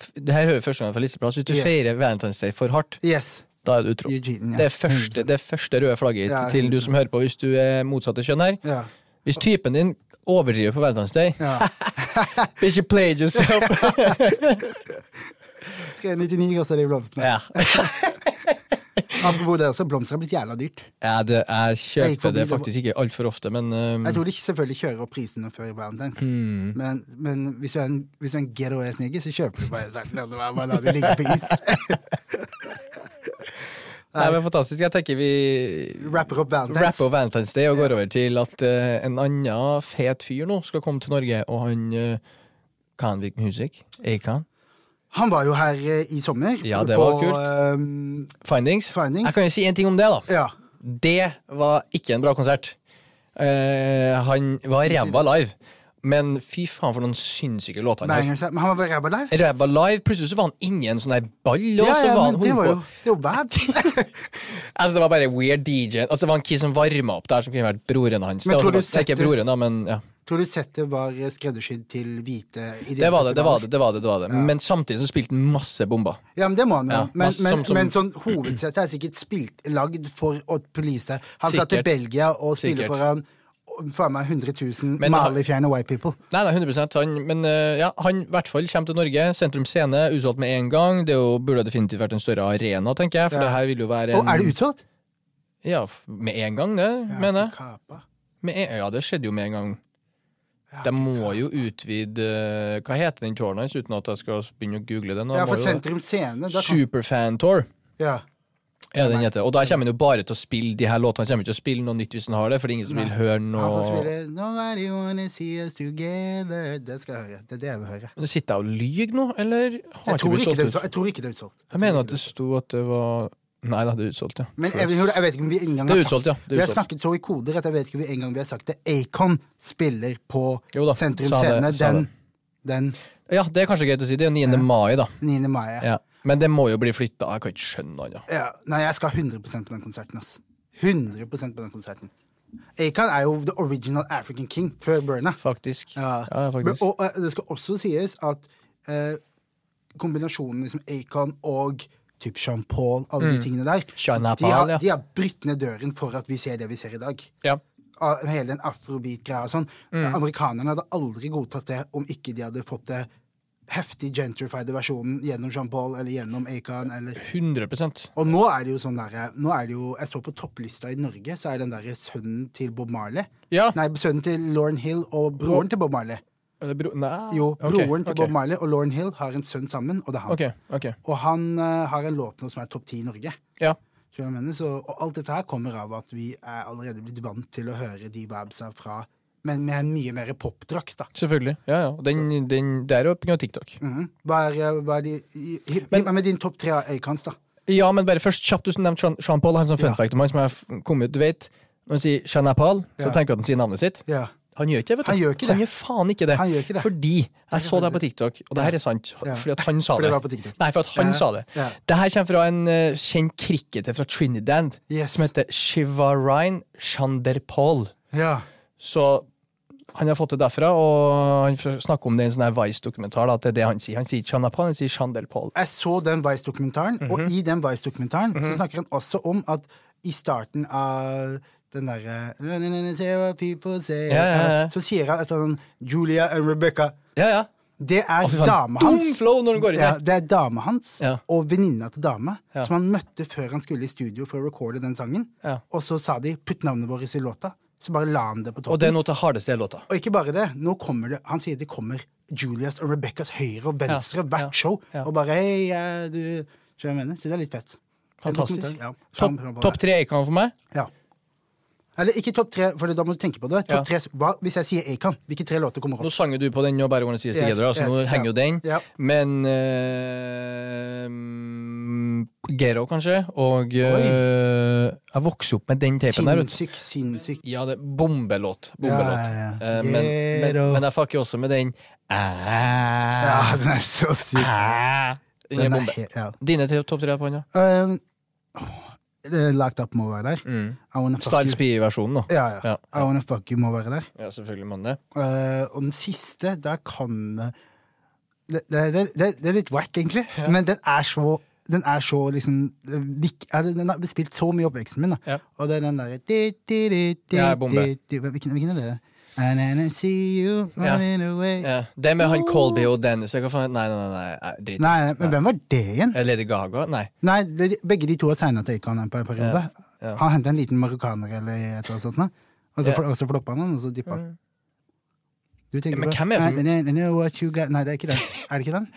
Speaker 2: f- Det her hører vi første gang fra listeplass. Hvis du
Speaker 1: Yes.
Speaker 2: feirer Valentine's Day for hardt,
Speaker 1: Yes.
Speaker 2: da er du utro.
Speaker 1: You're cheating, ja.
Speaker 2: Det er første, det er første røde flagget
Speaker 1: Ja,
Speaker 2: til du som hører på, hvis du er motsatte kjønn her.
Speaker 1: Ja.
Speaker 2: Hvis typen din overdriver på Valentine's Day.
Speaker 1: Ja.
Speaker 2: Bitch, you
Speaker 1: (laughs)
Speaker 2: played yourself.
Speaker 1: 399 koster de blomstene.
Speaker 2: ja.
Speaker 1: Apropos det også, blomster har blitt jævla dyrt.
Speaker 2: Ja, det, jeg
Speaker 1: Jeg gikk
Speaker 2: kjøper
Speaker 1: forbi
Speaker 2: det
Speaker 1: det på-
Speaker 2: faktisk ikke altfor ofte, men um,
Speaker 1: Jeg tror de selvfølgelig kjører opp prisene før Valentine's,
Speaker 2: Mm.
Speaker 1: men, men hvis du er en, hvis du er en ghetto ass nigger, så kjøper du bare sagt, la det være, bare la det ligge på is.
Speaker 2: Nei, men fantastisk. Jeg tenker vi
Speaker 1: Rapper opp Valentine's.
Speaker 2: rapper opp Valentine's Day og går over til at eh, en annen fet fyr nå skal komme til Norge, og han eh, Kanvik Music, Akan,
Speaker 1: Han var jo her eh, i sommer,
Speaker 2: Ja,
Speaker 1: på-
Speaker 2: det var
Speaker 1: på ehm,
Speaker 2: Findings.
Speaker 1: Findings.
Speaker 2: Jeg kan jo si en ting om det, da.
Speaker 1: Ja.
Speaker 2: Det var ikke en bra konsert. Eh, han var ræva live, men fy faen for noen sinnssyke låter han har.
Speaker 1: Bangers, men han var ræva live?
Speaker 2: Ræva live, plutselig så var han inni en sånn der ball, og
Speaker 1: Ja,
Speaker 2: så
Speaker 1: ja,
Speaker 2: var han
Speaker 1: men det
Speaker 2: holdt
Speaker 1: var
Speaker 2: på-
Speaker 1: jo Det var
Speaker 2: (laughs)
Speaker 1: bad.
Speaker 2: Altså Det var bare weird DJ. Altså Det var en kid som varma opp der, som kunne vært broren hans.
Speaker 1: Men
Speaker 2: det var
Speaker 1: tror du
Speaker 2: sånn- det er ikke
Speaker 1: setter-
Speaker 2: broren da, men ja
Speaker 1: Tror du settet var eh, skreddersydd til hvite ideelle
Speaker 2: Det var det, det var
Speaker 1: festivaler?
Speaker 2: det. det, var det, det, var det. Men samtidig så spilte han masse bomber.
Speaker 1: Ja, men det må han jo.
Speaker 2: Ja,
Speaker 1: men,
Speaker 2: masse-
Speaker 1: men,
Speaker 2: som- som-
Speaker 1: men sånn hovedsettet er sikkert spilt, lagd for å police. Han skal til
Speaker 2: Sikkert.
Speaker 1: Belgia og spille
Speaker 2: Sikkert.
Speaker 1: foran og faen meg 100 000
Speaker 2: Men-
Speaker 1: malefjerne white people.
Speaker 2: Nei, nei, 100 han, Men eh, ja, han i hvert fall kommer til Norge. Sentrum Scene, utsolgt med en gang. Det er jo, burde definitivt vært en større arena, tenker jeg. For
Speaker 1: Ja.
Speaker 2: det her vil jo være
Speaker 1: Og
Speaker 2: en,
Speaker 1: er det utsolgt?
Speaker 2: Ja, f- med en gang, det, mener jeg.
Speaker 1: Kapa.
Speaker 2: Med en, ja, det skjedde jo med en gang. De må jo utvide eh, Hva heter den touren hans, uten at jeg skal begynne å google det nå?
Speaker 1: Ja,
Speaker 2: Må
Speaker 1: for
Speaker 2: jo-
Speaker 1: Sentrum Scene. Da kan,
Speaker 2: Superfan Tour.
Speaker 1: ja.
Speaker 2: Ja, den heter. Og da kommer han jo bare til å spille de her låtene. Han kommer ikke til å spille noe nytt hvis han har det, for det er ingen som vil høre
Speaker 1: Han får spille
Speaker 2: noe
Speaker 1: Nobody wanna see us together. Det skal jeg høre. Det er det jeg vil høre.
Speaker 2: Men Sitter jeg og lyver nå, eller har
Speaker 1: Jeg tror
Speaker 2: blitt
Speaker 1: ikke det er
Speaker 2: solgt ut?
Speaker 1: utsolgt. Jeg tror ikke det er utsolgt.
Speaker 2: Jeg mener at det sto at det var Nei da, det er utsolgt, ja.
Speaker 1: Men jeg, jeg vet ikke om vi engang
Speaker 2: Det
Speaker 1: har
Speaker 2: er
Speaker 1: sagt
Speaker 2: utsolgt, ja.
Speaker 1: Vi
Speaker 2: Det
Speaker 1: har
Speaker 2: er utsolgt.
Speaker 1: snakket så i koder at jeg vet ikke om vi engang vi har sagt det. Acon spiller på
Speaker 2: Jo da,
Speaker 1: Sentrum
Speaker 2: sa det,
Speaker 1: Scene
Speaker 2: sa
Speaker 1: den, den
Speaker 2: Ja, det er kanskje greit å si. Det er jo 9. mai, da.
Speaker 1: 9. mai. Ja.
Speaker 2: Ja. Men det må jo bli flytta. Jeg kan ikke skjønne noe annet.
Speaker 1: Nei, jeg skal 100 på den konserten. Ass. 100 på den konserten. Acon er jo the original African king før Burna.
Speaker 2: Faktisk.
Speaker 1: Ja.
Speaker 2: Ja, faktisk.
Speaker 1: Og eh, det skal også sies at eh, kombinasjonen liksom Acon og typ Jean-Paul, alle de tingene der,
Speaker 2: Jean-Paul,
Speaker 1: de, har,
Speaker 2: Mm. ja.
Speaker 1: de har brytt ned døren for at vi ser det vi ser i dag.
Speaker 2: Ja.
Speaker 1: av hele den afrobeat-greia og sånn.
Speaker 2: Mm.
Speaker 1: Amerikanerne hadde aldri godtatt det om ikke de hadde fått det heftig gentrified versjonen gjennom Jean-Paul eller gjennom Acon eller
Speaker 2: 100
Speaker 1: Og nå er det jo sånn derre Nå er det jo Jeg så på topplista i Norge, så er den derre sønnen til Bob Marley
Speaker 2: Ja.
Speaker 1: Nei, sønnen til Lauren Hill og broren til Bob Marley.
Speaker 2: Er det bro... Nei.
Speaker 1: Jo,
Speaker 2: Ok,
Speaker 1: broren til
Speaker 2: ok.
Speaker 1: Bob Marley og Lauren Hill har en sønn sammen, og det er han.
Speaker 2: Ok, ok.
Speaker 1: Og han eh, har en låt nå som er topp ti i Norge.
Speaker 2: Ja.
Speaker 1: Skjønner du hva Jeg mener, så, og alt dette her kommer av at vi er allerede blitt vant til å høre de vibesa fra Men med mye mer popdrakt, da.
Speaker 2: Selvfølgelig. Ja, ja. Den, den, det er jo pga. TikTok.
Speaker 1: Mhm. Hva er, eh, hva er de i- hi- Gi meg med din topp tre av Acons, da.
Speaker 2: Ja, men bare først kjapt, du som nevnte Jean- Jean-Paul, han som fun
Speaker 1: Ja.
Speaker 2: fact om han som har f- kommet ut, du vet, når han sier Jean-Paul, så
Speaker 1: Ja.
Speaker 2: tenker du at han sier navnet sitt.
Speaker 1: Ja.
Speaker 2: Han gjør ikke det, vet du.
Speaker 1: Han gjør ikke det.
Speaker 2: Han gjør faen ikke det.
Speaker 1: Han gjør ikke det.
Speaker 2: Fordi, jeg så det her på TikTok, og det her er sant,
Speaker 1: Ja.
Speaker 2: fordi at han sa
Speaker 1: For
Speaker 2: det.
Speaker 1: det var på TikTok.
Speaker 2: Nei, for at han
Speaker 1: Ja.
Speaker 2: sa det.
Speaker 1: Ja.
Speaker 2: Det her kommer fra en eh, kjent cricketer fra Trinidad,
Speaker 1: Yes.
Speaker 2: som heter Shivarine Chanderpaul.
Speaker 1: ja.
Speaker 2: Så han har fått det derfra, og han f- snakker om det i en sånn her Vice-dokumentar, da, at det er det han sier. Han sier Chanderpaul, han sier Chanderpaul.
Speaker 1: Jeg så den Vice-dokumentaren,
Speaker 2: Mhm.
Speaker 1: og i den Vice-dokumentaren så snakker han også om at i starten av den derre
Speaker 2: Ja, ja, ja.
Speaker 1: Så sier han etter den Julia and Rebecca
Speaker 2: Ja, ja.
Speaker 1: Det er
Speaker 2: fy faen,
Speaker 1: dama
Speaker 2: dum
Speaker 1: hans.
Speaker 2: flow når han går inn
Speaker 1: ja,
Speaker 2: her.
Speaker 1: det er dama hans
Speaker 2: Ja.
Speaker 1: og venninna til dama
Speaker 2: Ja.
Speaker 1: som han møtte før han skulle i studio for å recorde den sangen.
Speaker 2: Ja.
Speaker 1: Og så sa de 'putt navnet vårt i låta', så bare la han det på
Speaker 2: Og det
Speaker 1: toppen.
Speaker 2: er noe av hardeste låta.
Speaker 1: Og ikke bare det, nå kommer det Han sier det kommer Julias og Rebeccas høyre og venstre
Speaker 2: Ja, ja,
Speaker 1: hvert show,
Speaker 2: ja.
Speaker 1: og bare hei, eh, du Skjønner du hva jeg mener? Så det er litt fett.
Speaker 2: Fantastisk.
Speaker 1: Ja,
Speaker 2: Topp
Speaker 1: Jean-Paul
Speaker 2: topp tre Acon for meg.
Speaker 1: Ja. Eller ikke topp tre, for da må du tenke på det.
Speaker 2: Ja.
Speaker 1: Topp tre, hva, hvis jeg sier Acon, hvilke tre låter kommer
Speaker 2: Nå
Speaker 1: opp?
Speaker 2: sang jo du på den, og bare Wanna See Us
Speaker 1: Yes,
Speaker 2: Together, altså
Speaker 1: yes,
Speaker 2: nå
Speaker 1: ja.
Speaker 2: henger jo den.
Speaker 1: Ja.
Speaker 2: Men uh, Gero, kanskje, og eh, Jeg vokste opp med den tapen der, vet du.
Speaker 1: Sinnssyk, sinnssyk
Speaker 2: Ja, det er bombelåt. bombelåt.
Speaker 1: Ja, ja, ja.
Speaker 2: Eh, men, men,
Speaker 1: Ghetto.
Speaker 2: men jeg fucker jo også med den
Speaker 1: Ja, den er så syk.
Speaker 2: Ah, Den er
Speaker 1: Den er
Speaker 2: bombe.
Speaker 1: helt- ja.
Speaker 2: Dine te- topp tre på hånda?
Speaker 1: Um, åh, Locked Up må være der.
Speaker 2: Mm.
Speaker 1: I Wanna Fuck
Speaker 2: Styles
Speaker 1: You.
Speaker 2: P-versjonen, da.
Speaker 1: Ja, ja.
Speaker 2: Ja.
Speaker 1: I Wanna Fuck You må være der.
Speaker 2: Ja, selvfølgelig må den det.
Speaker 1: Uh, og den siste, der kan det det, det, det, det er litt wack, egentlig, men den er så den er så liksom eh, vik- er det- Den har spilt så mye i oppveksten min, da.
Speaker 2: Ja.
Speaker 1: Og det er den derre
Speaker 2: Ja, bombe.
Speaker 1: Hvilken hvilken er det? And then I see you running away.
Speaker 2: Ja. Eh, Det med han Colby og Dennis hva faen? Nei, nei, nei, nei, nei, drit.
Speaker 1: Nei, men hvem var det igjen?
Speaker 2: Er det Eh, Lady Gaga? Nei.
Speaker 1: Nei, de- Begge de to har signa til Acon en per- periode.
Speaker 2: ja.
Speaker 1: Han henta en liten marokkaner eller et eller annet sånt. nå. Og så,
Speaker 2: Ja. Mm.
Speaker 1: fl- og så floppa han, han, og så dippa han. Du tenker
Speaker 2: Ja, men
Speaker 1: på
Speaker 2: hvem er det som-
Speaker 1: I don't know what you got- Nei, det er ikke den. Er det ikke
Speaker 2: (laughs)
Speaker 1: den?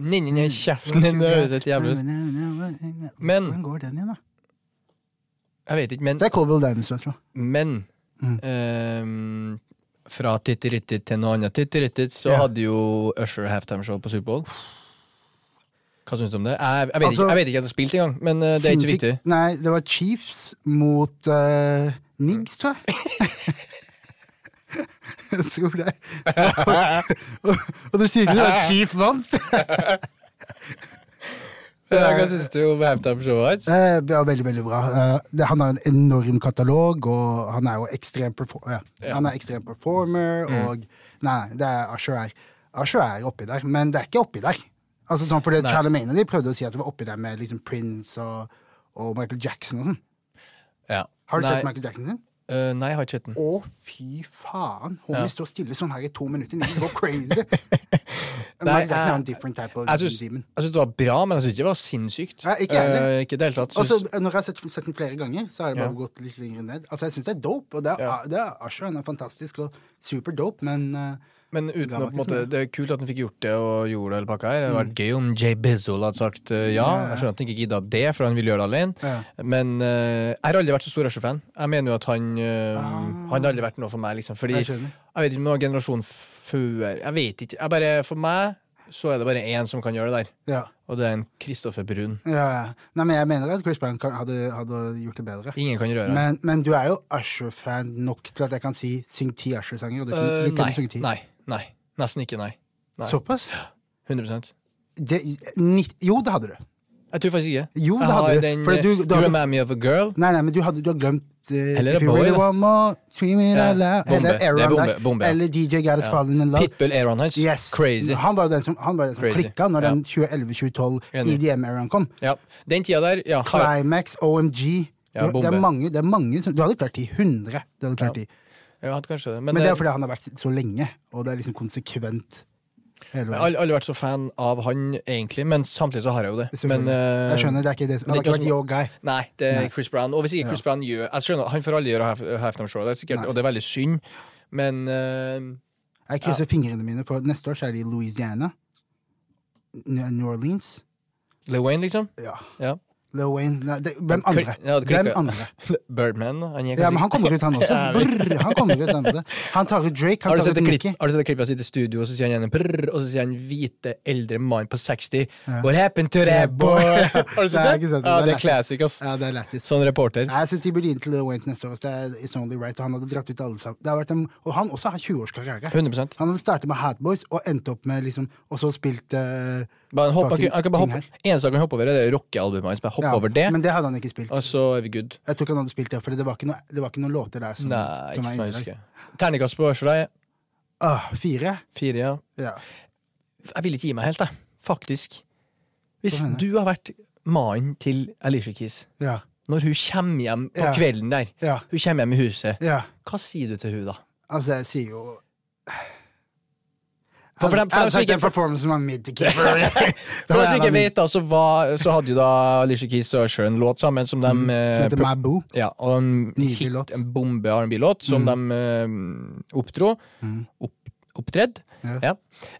Speaker 2: Nei, nei, nei, kjeften din, det høres helt jævlig ut.
Speaker 1: ut.
Speaker 2: Men-
Speaker 1: Hvordan går den igjen, da?
Speaker 2: Jeg vet ikke, men
Speaker 1: Det er Colville Daniels, vet du.
Speaker 2: Men
Speaker 1: Mm.
Speaker 2: ehm, fra titterittit til noe annet titterittit, så
Speaker 1: Ja.
Speaker 2: hadde jo Usher halftimeshow på Superbowl. Hva syns du om det? Jeg, jeg, vet
Speaker 1: Altså-
Speaker 2: ikke, jeg vet ikke at jeg har spilt engang, men eh, det er ikke
Speaker 1: Sinnssykt. (laughs)
Speaker 2: viktig. (laughs)
Speaker 1: Nei, det var Chiefs mot eh, Niggs, tror
Speaker 2: (laughs)
Speaker 1: jeg. (laughs) jeg tror det. og, og du sier ikke at Chief
Speaker 2: (laughs)
Speaker 1: vant?
Speaker 2: Hva syns du om halftimeshowet hans?
Speaker 1: Eh, det var veldig, veldig bra. Eh, det, han har en enorm katalog, og han er jo ekstrem, perfor ja. han er ekstrem performer,
Speaker 2: Mm.
Speaker 1: og Nei, det er Asher er, Usher er oppi der, men det er ikke oppi der. Altså sånn, for det
Speaker 2: Nei.
Speaker 1: Charlemagne de prøvde å si at det var oppi der med liksom Prince og, og Michael Jackson og sånn.
Speaker 2: Ja.
Speaker 1: Har du
Speaker 2: nei,
Speaker 1: sett Michael Jackson sin?
Speaker 2: eh, nei, jeg har ikke sett den.
Speaker 1: Å, fy faen! Homie står stille sånn her i to minutter. Det går
Speaker 2: (laughs)
Speaker 1: crazy!
Speaker 2: Nei,
Speaker 1: Michael Jackson er en
Speaker 2: jeg-
Speaker 1: different type of
Speaker 2: Jeg syns
Speaker 1: demon.
Speaker 2: jeg syns det var bra, men jeg syns ikke det var sinnssykt.
Speaker 1: Nei, ikke jeg heller. Altså,
Speaker 2: Eh, ikke i det hele tatt.
Speaker 1: Og så,
Speaker 2: Syns-
Speaker 1: når jeg har sett, sett den flere ganger, så har det bare
Speaker 2: Ja.
Speaker 1: gått litt lenger ned. Altså, jeg syns det er dope, og det er,
Speaker 2: Ja.
Speaker 1: det er Usher. Han er fantastisk og super dope, men eh,
Speaker 2: Men uten
Speaker 1: Ga meg ikke så
Speaker 2: at, på en
Speaker 1: Mm.
Speaker 2: måte,
Speaker 1: mye.
Speaker 2: det er kult at han fikk gjort det og gjorde det hele pakka her. Det hadde vært gøy om Jay Bizzle hadde sagt eh, ja. Jeg skjønner at han ikke gidda det, for han ville gjøre det alene. Men eh, jeg har aldri vært så stor Usher-fan. Jeg mener jo at han eh, Han har aldri vært noe for meg, liksom. Fordi
Speaker 1: Ah. Jeg
Speaker 2: jeg,
Speaker 1: skjønner.
Speaker 2: vet ikke om noen generasjon før Jeg vet ikke. Jeg bare, for meg så er det bare én som kan gjøre det der,
Speaker 1: ja.
Speaker 2: og det er en Kristoffer Brun.
Speaker 1: ja. ja. Nei, men jeg mener at Chris Brown kan, hadde, hadde gjort det bedre.
Speaker 2: Ingen kan røre han.
Speaker 1: Men, men du er jo Usher-fan nok til at jeg kan si 'syng ti Usher-sanger'. Og du, kunne-
Speaker 2: Eh,
Speaker 1: du kunne
Speaker 2: nei,
Speaker 1: synge ti.
Speaker 2: nei. Nei. Nesten ikke, nei. nei.
Speaker 1: Såpass?
Speaker 2: 100
Speaker 1: Det, nitt- jo, det hadde du.
Speaker 2: Jeg tror faktisk ikke.
Speaker 1: Jo, det
Speaker 2: jeg
Speaker 1: hadde
Speaker 2: har
Speaker 1: du.
Speaker 2: den
Speaker 1: Fordi
Speaker 2: eh,
Speaker 1: du- du
Speaker 2: You're
Speaker 1: hadde-
Speaker 2: a Mammy of a Girl.
Speaker 1: Nei, nei, men du, hadde, du har glemt uh,
Speaker 2: Eller
Speaker 1: If You
Speaker 2: Bowie,
Speaker 1: Really
Speaker 2: da.
Speaker 1: Want More, Scream It
Speaker 2: Ja,
Speaker 1: Out Loud,
Speaker 2: bombe.
Speaker 1: eller
Speaker 2: Det er
Speaker 1: Aaron
Speaker 2: bombe,
Speaker 1: Dyke,
Speaker 2: bombe, ja.
Speaker 1: eller DJ Got Us Fallen In Love.
Speaker 2: Pitbull Aaron hans.
Speaker 1: Yes.
Speaker 2: Crazy.
Speaker 1: Han var jo den som, han var den som
Speaker 2: Crazy.
Speaker 1: klikka når
Speaker 2: Ja.
Speaker 1: den 2011-2012
Speaker 2: Enig.
Speaker 1: EDM-eraen kom.
Speaker 2: Ja. Den tida der, ja. Har,
Speaker 1: Climax, OMG
Speaker 2: Ja,
Speaker 1: det, det
Speaker 2: bombe.
Speaker 1: er mange, det er mange som, Du hadde klart de 100. Du hadde klart de.
Speaker 2: jeg hadde kanskje det. Men,
Speaker 1: Men det
Speaker 2: eh,
Speaker 1: er fordi han har vært så lenge, og det er liksom konsekvent. Hele
Speaker 2: jeg
Speaker 1: veien.
Speaker 2: har aldri vært så fan av han, egentlig, men samtidig så har jeg jo det.
Speaker 1: Selvfølgelig.
Speaker 2: Men, eh,
Speaker 1: jeg skjønner, det er ikke det som- Han
Speaker 2: det er
Speaker 1: har ikke
Speaker 2: ikke
Speaker 1: vært yo guy.
Speaker 2: Nei, det er Chris Brown. Og hvis ikke Chris Brown gjør Jeg skjønner, Han får aldri gjøre half- halftime show, det er sikkert, og det er veldig synd, men eh,
Speaker 1: Jeg krysser fingrene mine, for neste år så er de i Louisiana. N- New Orleans.
Speaker 2: Lil Wayne,
Speaker 1: (laughs)
Speaker 2: liksom?
Speaker 1: Ja.
Speaker 2: Ja.
Speaker 1: Lil Wayne Nei, det, Hvem
Speaker 2: Kli-
Speaker 1: andre?
Speaker 2: Ja, det klikker.
Speaker 1: Hvem andre?
Speaker 2: Birdman? Han gikk
Speaker 1: Ja, men han kommer ut, han også.
Speaker 2: (laughs) Ja, jeg vet.
Speaker 1: Brr, han kommer ut, han også. Han tar ut Drake,
Speaker 2: har
Speaker 1: han
Speaker 2: du
Speaker 1: tar
Speaker 2: sett
Speaker 1: ut
Speaker 2: det klipp-
Speaker 1: Nicki.
Speaker 2: har du sett det klippet han sitter i studio, og så sier han igjen prrr, og så sier han hvite, eldre mann på 60 What happened to that boy? (laughs) har du
Speaker 1: Nei, jeg har ikke
Speaker 2: sett det?
Speaker 1: sett det.
Speaker 2: Ja,
Speaker 1: Det er
Speaker 2: det er classic, ass.
Speaker 1: Ja, det er lættis.
Speaker 2: Sånn reporter.
Speaker 1: Nei, Jeg syns de burde inn til Lil Wayne til neste år. ass. Det er It's Only Right, og han hadde dratt ut alle sammen. Det har vært en, og han også har 20 års karriere.
Speaker 2: 100
Speaker 1: Han hadde startet med Hatboys og endte opp med liksom Og så spilt eh,
Speaker 2: Bare hopp, han,
Speaker 1: fucking
Speaker 2: kan- han kan bare
Speaker 1: ting
Speaker 2: hoppe, eneste han kan hoppe over, er det rockealbumet hans. Bare hoppe
Speaker 1: Ja,
Speaker 2: over det,
Speaker 1: Men det hadde han ikke spilt.
Speaker 2: og så er vi good.
Speaker 1: Jeg tror ikke han hadde spilt det, for det var ikke, noe, det var ikke noen låter der som,
Speaker 2: Nei,
Speaker 1: som er
Speaker 2: ikke som jeg
Speaker 1: inne der.
Speaker 2: husker. Terningkast på Ørseløy,
Speaker 1: Åh, fire?
Speaker 2: fire, ja.
Speaker 1: Ja.
Speaker 2: Jeg ville ikke gi meg helt, jeg. Faktisk. Hvis du har vært mannen til Alicia Keys,
Speaker 1: Ja.
Speaker 2: når hun kommer hjem på
Speaker 1: Ja.
Speaker 2: kvelden der,
Speaker 1: Ja.
Speaker 2: hun kommer hjem i huset,
Speaker 1: ja.
Speaker 2: hva sier du til hun da?
Speaker 1: Altså, jeg sier jo
Speaker 2: For, for, dem, for, dem, som
Speaker 1: sagt
Speaker 2: ikke,
Speaker 1: den
Speaker 2: for,
Speaker 1: performancen var mid to keeper.
Speaker 2: (laughs)
Speaker 1: (laughs)
Speaker 2: for dem som ikke vet, da, så, var, så hadde jo da Alicia Keys og Usher en låt sammen som de
Speaker 1: Mm. Som
Speaker 2: eh,
Speaker 1: heter Maboo.
Speaker 2: Ja, og en
Speaker 1: Nydelig
Speaker 2: hit,
Speaker 1: låt.
Speaker 2: en bombe R&B-låt som
Speaker 1: Mm.
Speaker 2: de eh, oppdro. Opp, opptredd.
Speaker 1: Ja.
Speaker 2: Ja.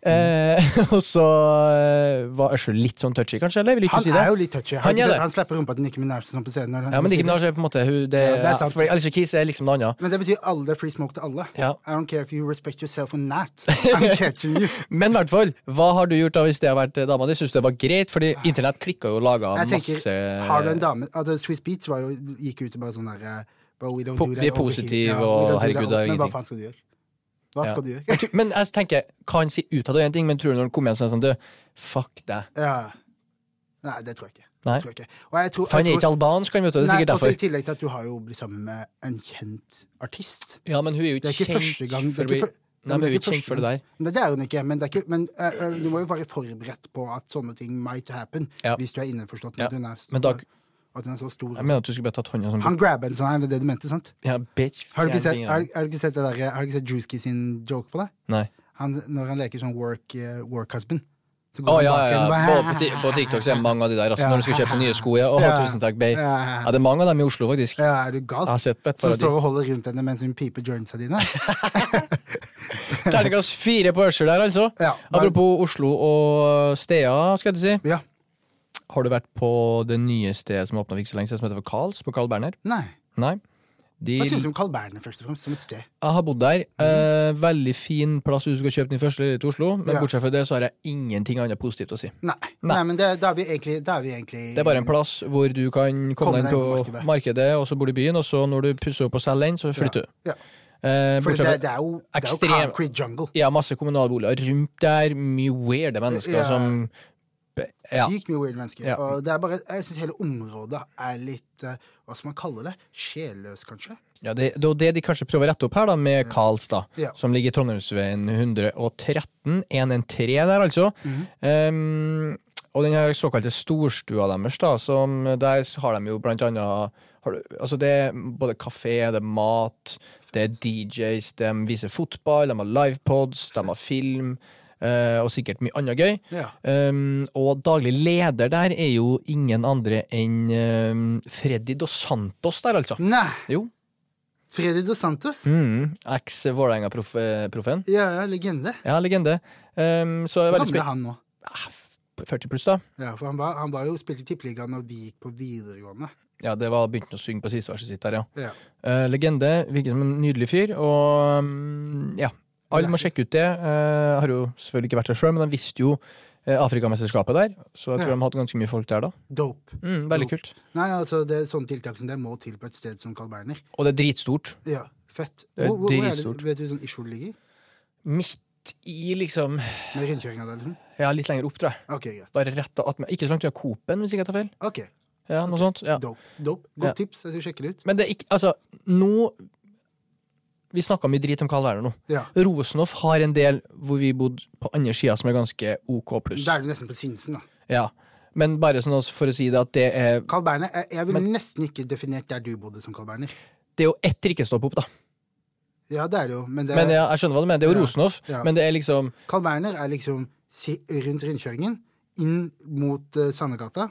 Speaker 2: Eh, (laughs) og så eh, var Usher litt sånn touchy, kanskje? eller? Jeg vil ikke
Speaker 1: Han
Speaker 2: si det.
Speaker 1: er jo litt touchy.
Speaker 2: Han
Speaker 1: Han,
Speaker 2: er
Speaker 1: han,
Speaker 2: det.
Speaker 1: han slipper rumpa til Nicki Minaj sånn på scenen. Når han,
Speaker 2: Ja, men Nicki Minaj er på en måte hun, det,
Speaker 1: Ja, det er
Speaker 2: ja,
Speaker 1: sant.
Speaker 2: for Alicia Keys er liksom noe annet.
Speaker 1: Men det betyr alle free smoke til alle.
Speaker 2: Ja.
Speaker 1: I don't care if you respect yourself or not.
Speaker 2: (laughs)
Speaker 1: I'm catching you.
Speaker 2: Men i hvert fall, hva har du gjort da hvis det har vært eh, dama di? Syns du det var greit? Fordi internett klikka jo og laga
Speaker 1: Ah. Jeg tenker,
Speaker 2: masse
Speaker 1: Har du en dame altså, Swiss Beats var jo, gikk ut og bare sånn derre bare, we don't
Speaker 2: Po-
Speaker 1: do that
Speaker 2: de er
Speaker 1: over
Speaker 2: positive,
Speaker 1: here.
Speaker 2: og
Speaker 1: we don't do that
Speaker 2: herregud, det er
Speaker 1: over- Men hva
Speaker 2: ingenting.
Speaker 1: faen skal du gjøre? Hva
Speaker 2: Ja.
Speaker 1: skal du gjøre? (laughs)
Speaker 2: Men jeg tenker, hva han sier utad, er én ting, men tror du når han kommer hjem, så er han sånn Du, fuck deg.
Speaker 1: Ja. Nei, det tror jeg ikke. Det
Speaker 2: Nei.
Speaker 1: Tror jeg ikke. Og jeg tror,
Speaker 2: For han er
Speaker 1: jeg
Speaker 2: ikke
Speaker 1: tror,
Speaker 2: albansk, han, vet du. Det er
Speaker 1: nei, altså,
Speaker 2: sikkert
Speaker 1: også
Speaker 2: derfor.
Speaker 1: I tillegg til at du har jo blitt sammen med en kjent artist.
Speaker 2: Ja, men hun er jo
Speaker 1: Det er ikke første gang det er
Speaker 2: for å
Speaker 1: ikke
Speaker 2: bli-
Speaker 1: fø-
Speaker 2: Nei,
Speaker 1: men
Speaker 2: men
Speaker 1: det er
Speaker 2: hun er jo ikke
Speaker 1: ikke
Speaker 2: kjent
Speaker 1: første
Speaker 2: for det der.
Speaker 1: Men det er hun ikke. Men, det er ikke, men eh, eh, du må jo være forberedt på at sånne ting might happen
Speaker 2: Ja.
Speaker 1: hvis du er innforstått med
Speaker 2: Ja.
Speaker 1: at hun er
Speaker 2: Men da-
Speaker 1: Og at den er så stor.
Speaker 2: Jeg mener at du skulle bare tatt hånda sånn.
Speaker 1: Han grabber en sånn her, det er det du mente, sant?
Speaker 2: Ja, bitch.
Speaker 1: Har du ikke
Speaker 2: fjern
Speaker 1: sett,
Speaker 2: fingeren.
Speaker 1: har, har du ikke sett det der, eh, har du ikke sett Drewski sin joke på det?
Speaker 2: Nei.
Speaker 1: Han, når han leker sånn work, eh, work husband. Så
Speaker 2: Å, ja, ja.
Speaker 1: og
Speaker 2: På,
Speaker 1: bare-
Speaker 2: på Ti- på TikTok så er det mange av de der. Altså,
Speaker 1: Ja.
Speaker 2: Når du skal kjøpe nye sko, ja. Å,
Speaker 1: Ja.
Speaker 2: tusen takk, babe.
Speaker 1: Ja, ja, ja.
Speaker 2: Ja, det er mange av dem i Oslo, faktisk.
Speaker 1: Ja, er du
Speaker 2: Jeg har
Speaker 1: gal?
Speaker 2: sett på et
Speaker 1: Som
Speaker 2: par av de.
Speaker 1: står og holder rundt henne mens hun piper jointsa
Speaker 2: (laughs)
Speaker 1: dine.
Speaker 2: Terningkast fire på Usher der, altså.
Speaker 1: Ja, bare-
Speaker 2: Apropos Oslo og steder, skal jeg til å si.
Speaker 1: Ja.
Speaker 2: Har du vært på det nye stedet som åpna for ikke så lenge siden, som heter for Carls, på Carl Berner?
Speaker 1: Nei.
Speaker 2: Nei. De,
Speaker 1: Hva synes du
Speaker 2: jeg
Speaker 1: om Carl Berner, først og fremst, som et sted?
Speaker 2: har bodd der. Eh, veldig fin plass hvis du skal kjøpe din første leilighet i Oslo, men
Speaker 1: Mhm. Ja.
Speaker 2: bortsett fra det så har jeg ingenting annet positivt å si.
Speaker 1: Nei. Nei.
Speaker 2: Nei.
Speaker 1: men det, da er vi egentlig, da er vi egentlig
Speaker 2: Det er bare en plass hvor du kan komme deg inn på markedet. og så bor du i byen, og så når du pusser opp og selger den, så flytter du.
Speaker 1: Ja.
Speaker 2: Eh,
Speaker 1: For det,
Speaker 2: bortsett fra
Speaker 1: det er jo, det er jo
Speaker 2: Ekstrem-
Speaker 1: concrete jungle.
Speaker 2: ja, masse kommunale boliger rundt der, mye weirde mennesker
Speaker 1: Ja.
Speaker 2: som Ja.
Speaker 1: Sykt mye weird mennesker.
Speaker 2: Ja.
Speaker 1: Og det er bare, jeg syns hele området er litt eh, Hva skal man kalle det? Sjelløs, kanskje?
Speaker 2: Ja, det, det er jo det de kanskje prøver å rette opp her, da, med Karls, da,
Speaker 1: Ja.
Speaker 2: som ligger i Trondheimsveien 113, 113 der, altså. Ehm, og den her såkalte storstua deres, da, som der har de jo blant annet har du, Altså, det er både kafé, det er mat, det er DJs, de viser fotball, de har livepods, de har film, eh, og sikkert mye annet gøy.
Speaker 1: Ja.
Speaker 2: Ehm, og daglig leder der er jo ingen andre enn ehm, Freddy Dos Santos der, altså.
Speaker 1: Nei!
Speaker 2: Jo,
Speaker 1: Freddy Dos Santos.
Speaker 2: Mm, Eks-Vålerenga-proffen.
Speaker 1: Ja, ja, legende.
Speaker 2: Ja, legende. Um, så er
Speaker 1: Hvor
Speaker 2: veldig
Speaker 1: gammel er
Speaker 2: spennende.
Speaker 1: han nå?
Speaker 2: 40 pluss, da.
Speaker 1: Ja, for han var, han var jo spilt i Tippeligaen når vi gikk på videregående.
Speaker 2: Ja, det var begynte han å synge på siste verset sitt der, ja.
Speaker 1: Ja.
Speaker 2: Eh, legende. Virker som en nydelig fyr. Og mm, ja, alle må sjekke ut det. Eh, har jo selvfølgelig ikke vært der sjøl, men de visste jo eh, Afrikamesterskapet der, så jeg tror
Speaker 1: Ja.
Speaker 2: de hadde ganske mye folk der da.
Speaker 1: Dope.
Speaker 2: Mm, veldig
Speaker 1: Jo.
Speaker 2: kult.
Speaker 1: Nei, altså, det er sånne tiltak som det må til på et sted som Carl Berner.
Speaker 2: Og det er dritstort.
Speaker 1: Ja, fett.
Speaker 2: Det er
Speaker 1: Hvor, hvor, hvor er det,
Speaker 2: dritstort.
Speaker 1: vet du hvor sånn Isjol ligger?
Speaker 2: Midt i, liksom
Speaker 1: Med rundkjøringa der, liksom?
Speaker 2: Ja, litt lenger opp, tror jeg.
Speaker 1: Ok, greit.
Speaker 2: Bare rett og attmed. Ikke så langt unna Coop-en, hvis ikke jeg tar feil.
Speaker 1: Ok,
Speaker 2: Ja, noe sånt. Ja.
Speaker 1: dope. dope. Godt
Speaker 2: Ja.
Speaker 1: tips, jeg skal sjekke det ut.
Speaker 2: Men det er ikke Altså, nå Vi snakka mye drit om Carl Werner nå.
Speaker 1: Ja.
Speaker 2: Rosenhoff har en del hvor vi bodde på andre sida som er ganske OK pluss.
Speaker 1: Da er du nesten på Sinsen, da.
Speaker 2: Ja. Men bare sånn også for å si det at det er
Speaker 1: Carl Berner, jeg, jeg ville nesten ikke definert der du bodde som Carl Berner.
Speaker 2: Det er jo ett drikkestopp opp, da.
Speaker 1: Ja, det er det jo, men, det,
Speaker 2: Men ja, jeg skjønner hva du mener. Det er jo
Speaker 1: Ja,
Speaker 2: Rosenhoff,
Speaker 1: ja.
Speaker 2: men det er liksom
Speaker 1: Carl Berner er liksom si, rundt rundkjøringen, inn mot eh, Sandegata.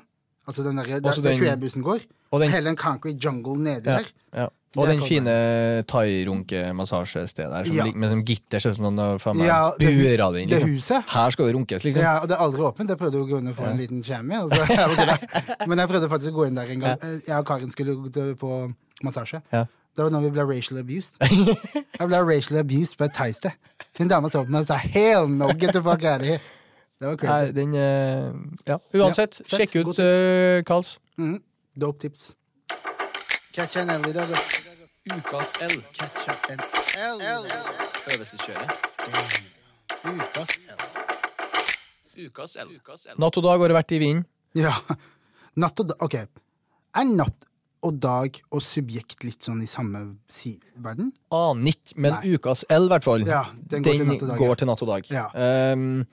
Speaker 1: Altså den der, der,
Speaker 2: Også
Speaker 1: der
Speaker 2: den-
Speaker 1: 21-bussen går.
Speaker 2: Og den,
Speaker 1: Hele den concrete jungle nede
Speaker 2: ja,
Speaker 1: der.
Speaker 2: ja.
Speaker 1: Det
Speaker 2: Og
Speaker 1: er
Speaker 2: den
Speaker 1: Carl
Speaker 2: fine thairunkemassasjestedet der som
Speaker 1: Ja.
Speaker 2: ligger med sånn gitter, ser ut som noen har faen meg
Speaker 1: Ja, det-
Speaker 2: bura det inn.
Speaker 1: det
Speaker 2: Liksom.
Speaker 1: huset.
Speaker 2: Her skal det runkes, liksom.
Speaker 1: Ja, og det er aldri åpent. Jeg prøvde å gå inn og få en liten skjerm i, og så er det ikke det. Men jeg prøvde faktisk å gå inn der en gang. Eh, Jeg og Karin skulle gå til- på massasje.
Speaker 2: Ja.
Speaker 1: Det var når vi ble racial abused. Jeg ble racial abused på et thaisted. Hun dama så på meg og sa 'hell no, get the fuck out of here'. Det var
Speaker 2: Nei,
Speaker 1: crazy.
Speaker 2: den eh, Ja. Uansett,
Speaker 1: fett.
Speaker 2: sjekk
Speaker 1: God
Speaker 2: ut
Speaker 1: tips.
Speaker 2: eh, Karls.
Speaker 1: Mm. Dope tips. Catcha en L i dag, ass.
Speaker 2: Ukas L.
Speaker 1: Catcha en L.
Speaker 2: Øvelseskjøret.
Speaker 1: Ukas L.
Speaker 2: Ukas L. Natt og dag har det vært i vinden.
Speaker 1: Ja. Natt og dag Ok. Er natt og dag og subjekt litt sånn i samme si verden?
Speaker 2: Aner ikke, men
Speaker 1: Nei.
Speaker 2: ukas L, i hvert fall.
Speaker 1: Ja, den går til natt og dag, ja.
Speaker 2: går til natt og dag.
Speaker 1: Ja.
Speaker 2: Ehm,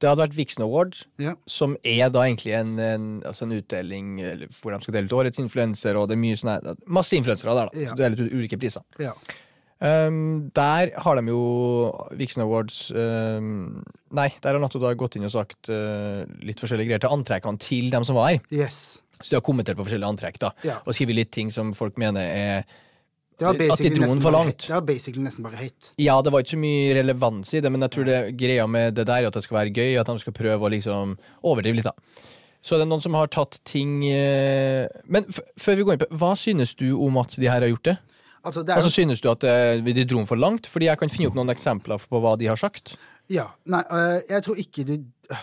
Speaker 2: det hadde vært Vixen Awards,
Speaker 1: Ja.
Speaker 2: som er da egentlig en, en, altså en utdeling eller hvor de skal dele ut årets influenser, og det er mye sånn her Masse influensere der, da.
Speaker 1: Ja.
Speaker 2: Deler ut ulike priser.
Speaker 1: ja.
Speaker 2: Ehm, der har de jo Vixen Awards ehm, Nei, der har Natt og Dag gått inn og sagt eh, litt forskjellige greier til antrekkene til dem som var her.
Speaker 1: Yes.
Speaker 2: Så de har kommentert på forskjellige antrekk, da.
Speaker 1: Ja.
Speaker 2: Og skrevet litt ting som folk mener er
Speaker 1: Det var
Speaker 2: At de dro
Speaker 1: basically
Speaker 2: den
Speaker 1: nesten
Speaker 2: for
Speaker 1: bare
Speaker 2: langt.
Speaker 1: hate. Det var basically nesten bare hate.
Speaker 2: Ja, det var ikke så mye relevans i det, men jeg tror det greia med det der er at det skal være gøy, at de skal prøve å liksom overdrive litt, da. Så det er noen som har tatt ting eh, Men f før vi går inn på hva synes du om at de her har gjort det?
Speaker 1: Altså, det er,
Speaker 2: Altså, Synes du at eh, de dro den for langt? Fordi jeg kan finne opp noen eksempler på hva de har sagt.
Speaker 1: ja, nei, øh, jeg tror ikke de øh,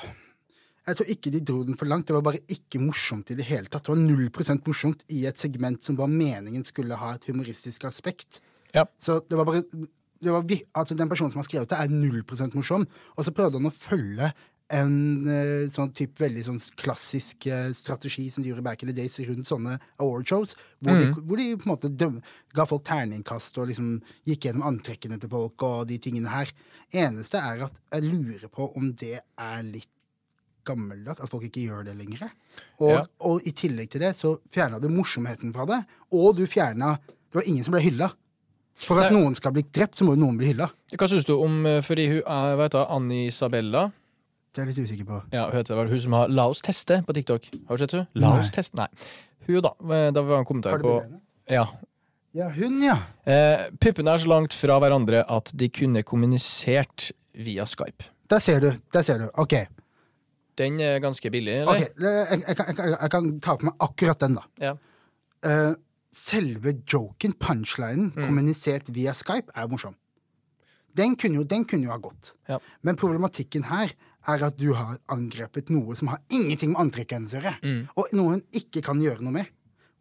Speaker 1: Jeg tror ikke de dro den for langt. Det var bare ikke morsomt i det hele tatt. Det var 0 morsomt i et segment som var meningen skulle ha et humoristisk aspekt.
Speaker 2: Ja.
Speaker 1: Så det var bare det var, vi- altså Den personen som har skrevet det, er 0 morsom, og så prøvde han å følge en eh, sånn typ, veldig sånn klassisk eh, strategi som de gjorde back in the days rundt sånne awardshows, hvor, de, hvor de på en måte døm, ga folk terningkast og liksom gikk gjennom antrekkene til folk og de tingene her. Eneste er at jeg lurer på om det er litt gammeldags at folk ikke gjør det lenger. Og,
Speaker 2: Ja.
Speaker 1: og i tillegg til det så fjerna du morsomheten fra det, og du fjerna Det var ingen som ble hylla. For at
Speaker 2: Nei.
Speaker 1: noen skal bli drept, så må jo noen bli hylla.
Speaker 2: Hva syns du om eh, fordi hun, eh, hva heter hun, Annie Isabella?
Speaker 1: Det er jeg litt usikker på.
Speaker 2: Ja, hun heter vel hun som har La oss teste på TikTok. Har du sett hun? La
Speaker 1: Nei.
Speaker 2: oss teste Nei. Hun, da. eh, Da var en kommentar
Speaker 1: Har du
Speaker 2: på
Speaker 1: bildet?
Speaker 2: Ja.
Speaker 1: Ja, hun, ja.
Speaker 2: Eh, Puppene er så langt fra hverandre at de kunne kommunisert via Skype.
Speaker 1: Der ser du. Der ser du. Ok.
Speaker 2: Den er ganske billig, eller?
Speaker 1: Ok, jeg, jeg, kan- jeg, kan- jeg kan ta på meg akkurat den, da.
Speaker 2: Ja.
Speaker 1: Eh, selve joken, punchlinen,
Speaker 2: Mm.
Speaker 1: kommunisert via Skype, er morsom. Den kunne jo, den kunne jo ha gått.
Speaker 2: Ja.
Speaker 1: Men problematikken her er at du har angrepet noe som har ingenting med antrekket hennes å gjøre,
Speaker 2: Mm.
Speaker 1: og noe hun ikke kan gjøre noe med.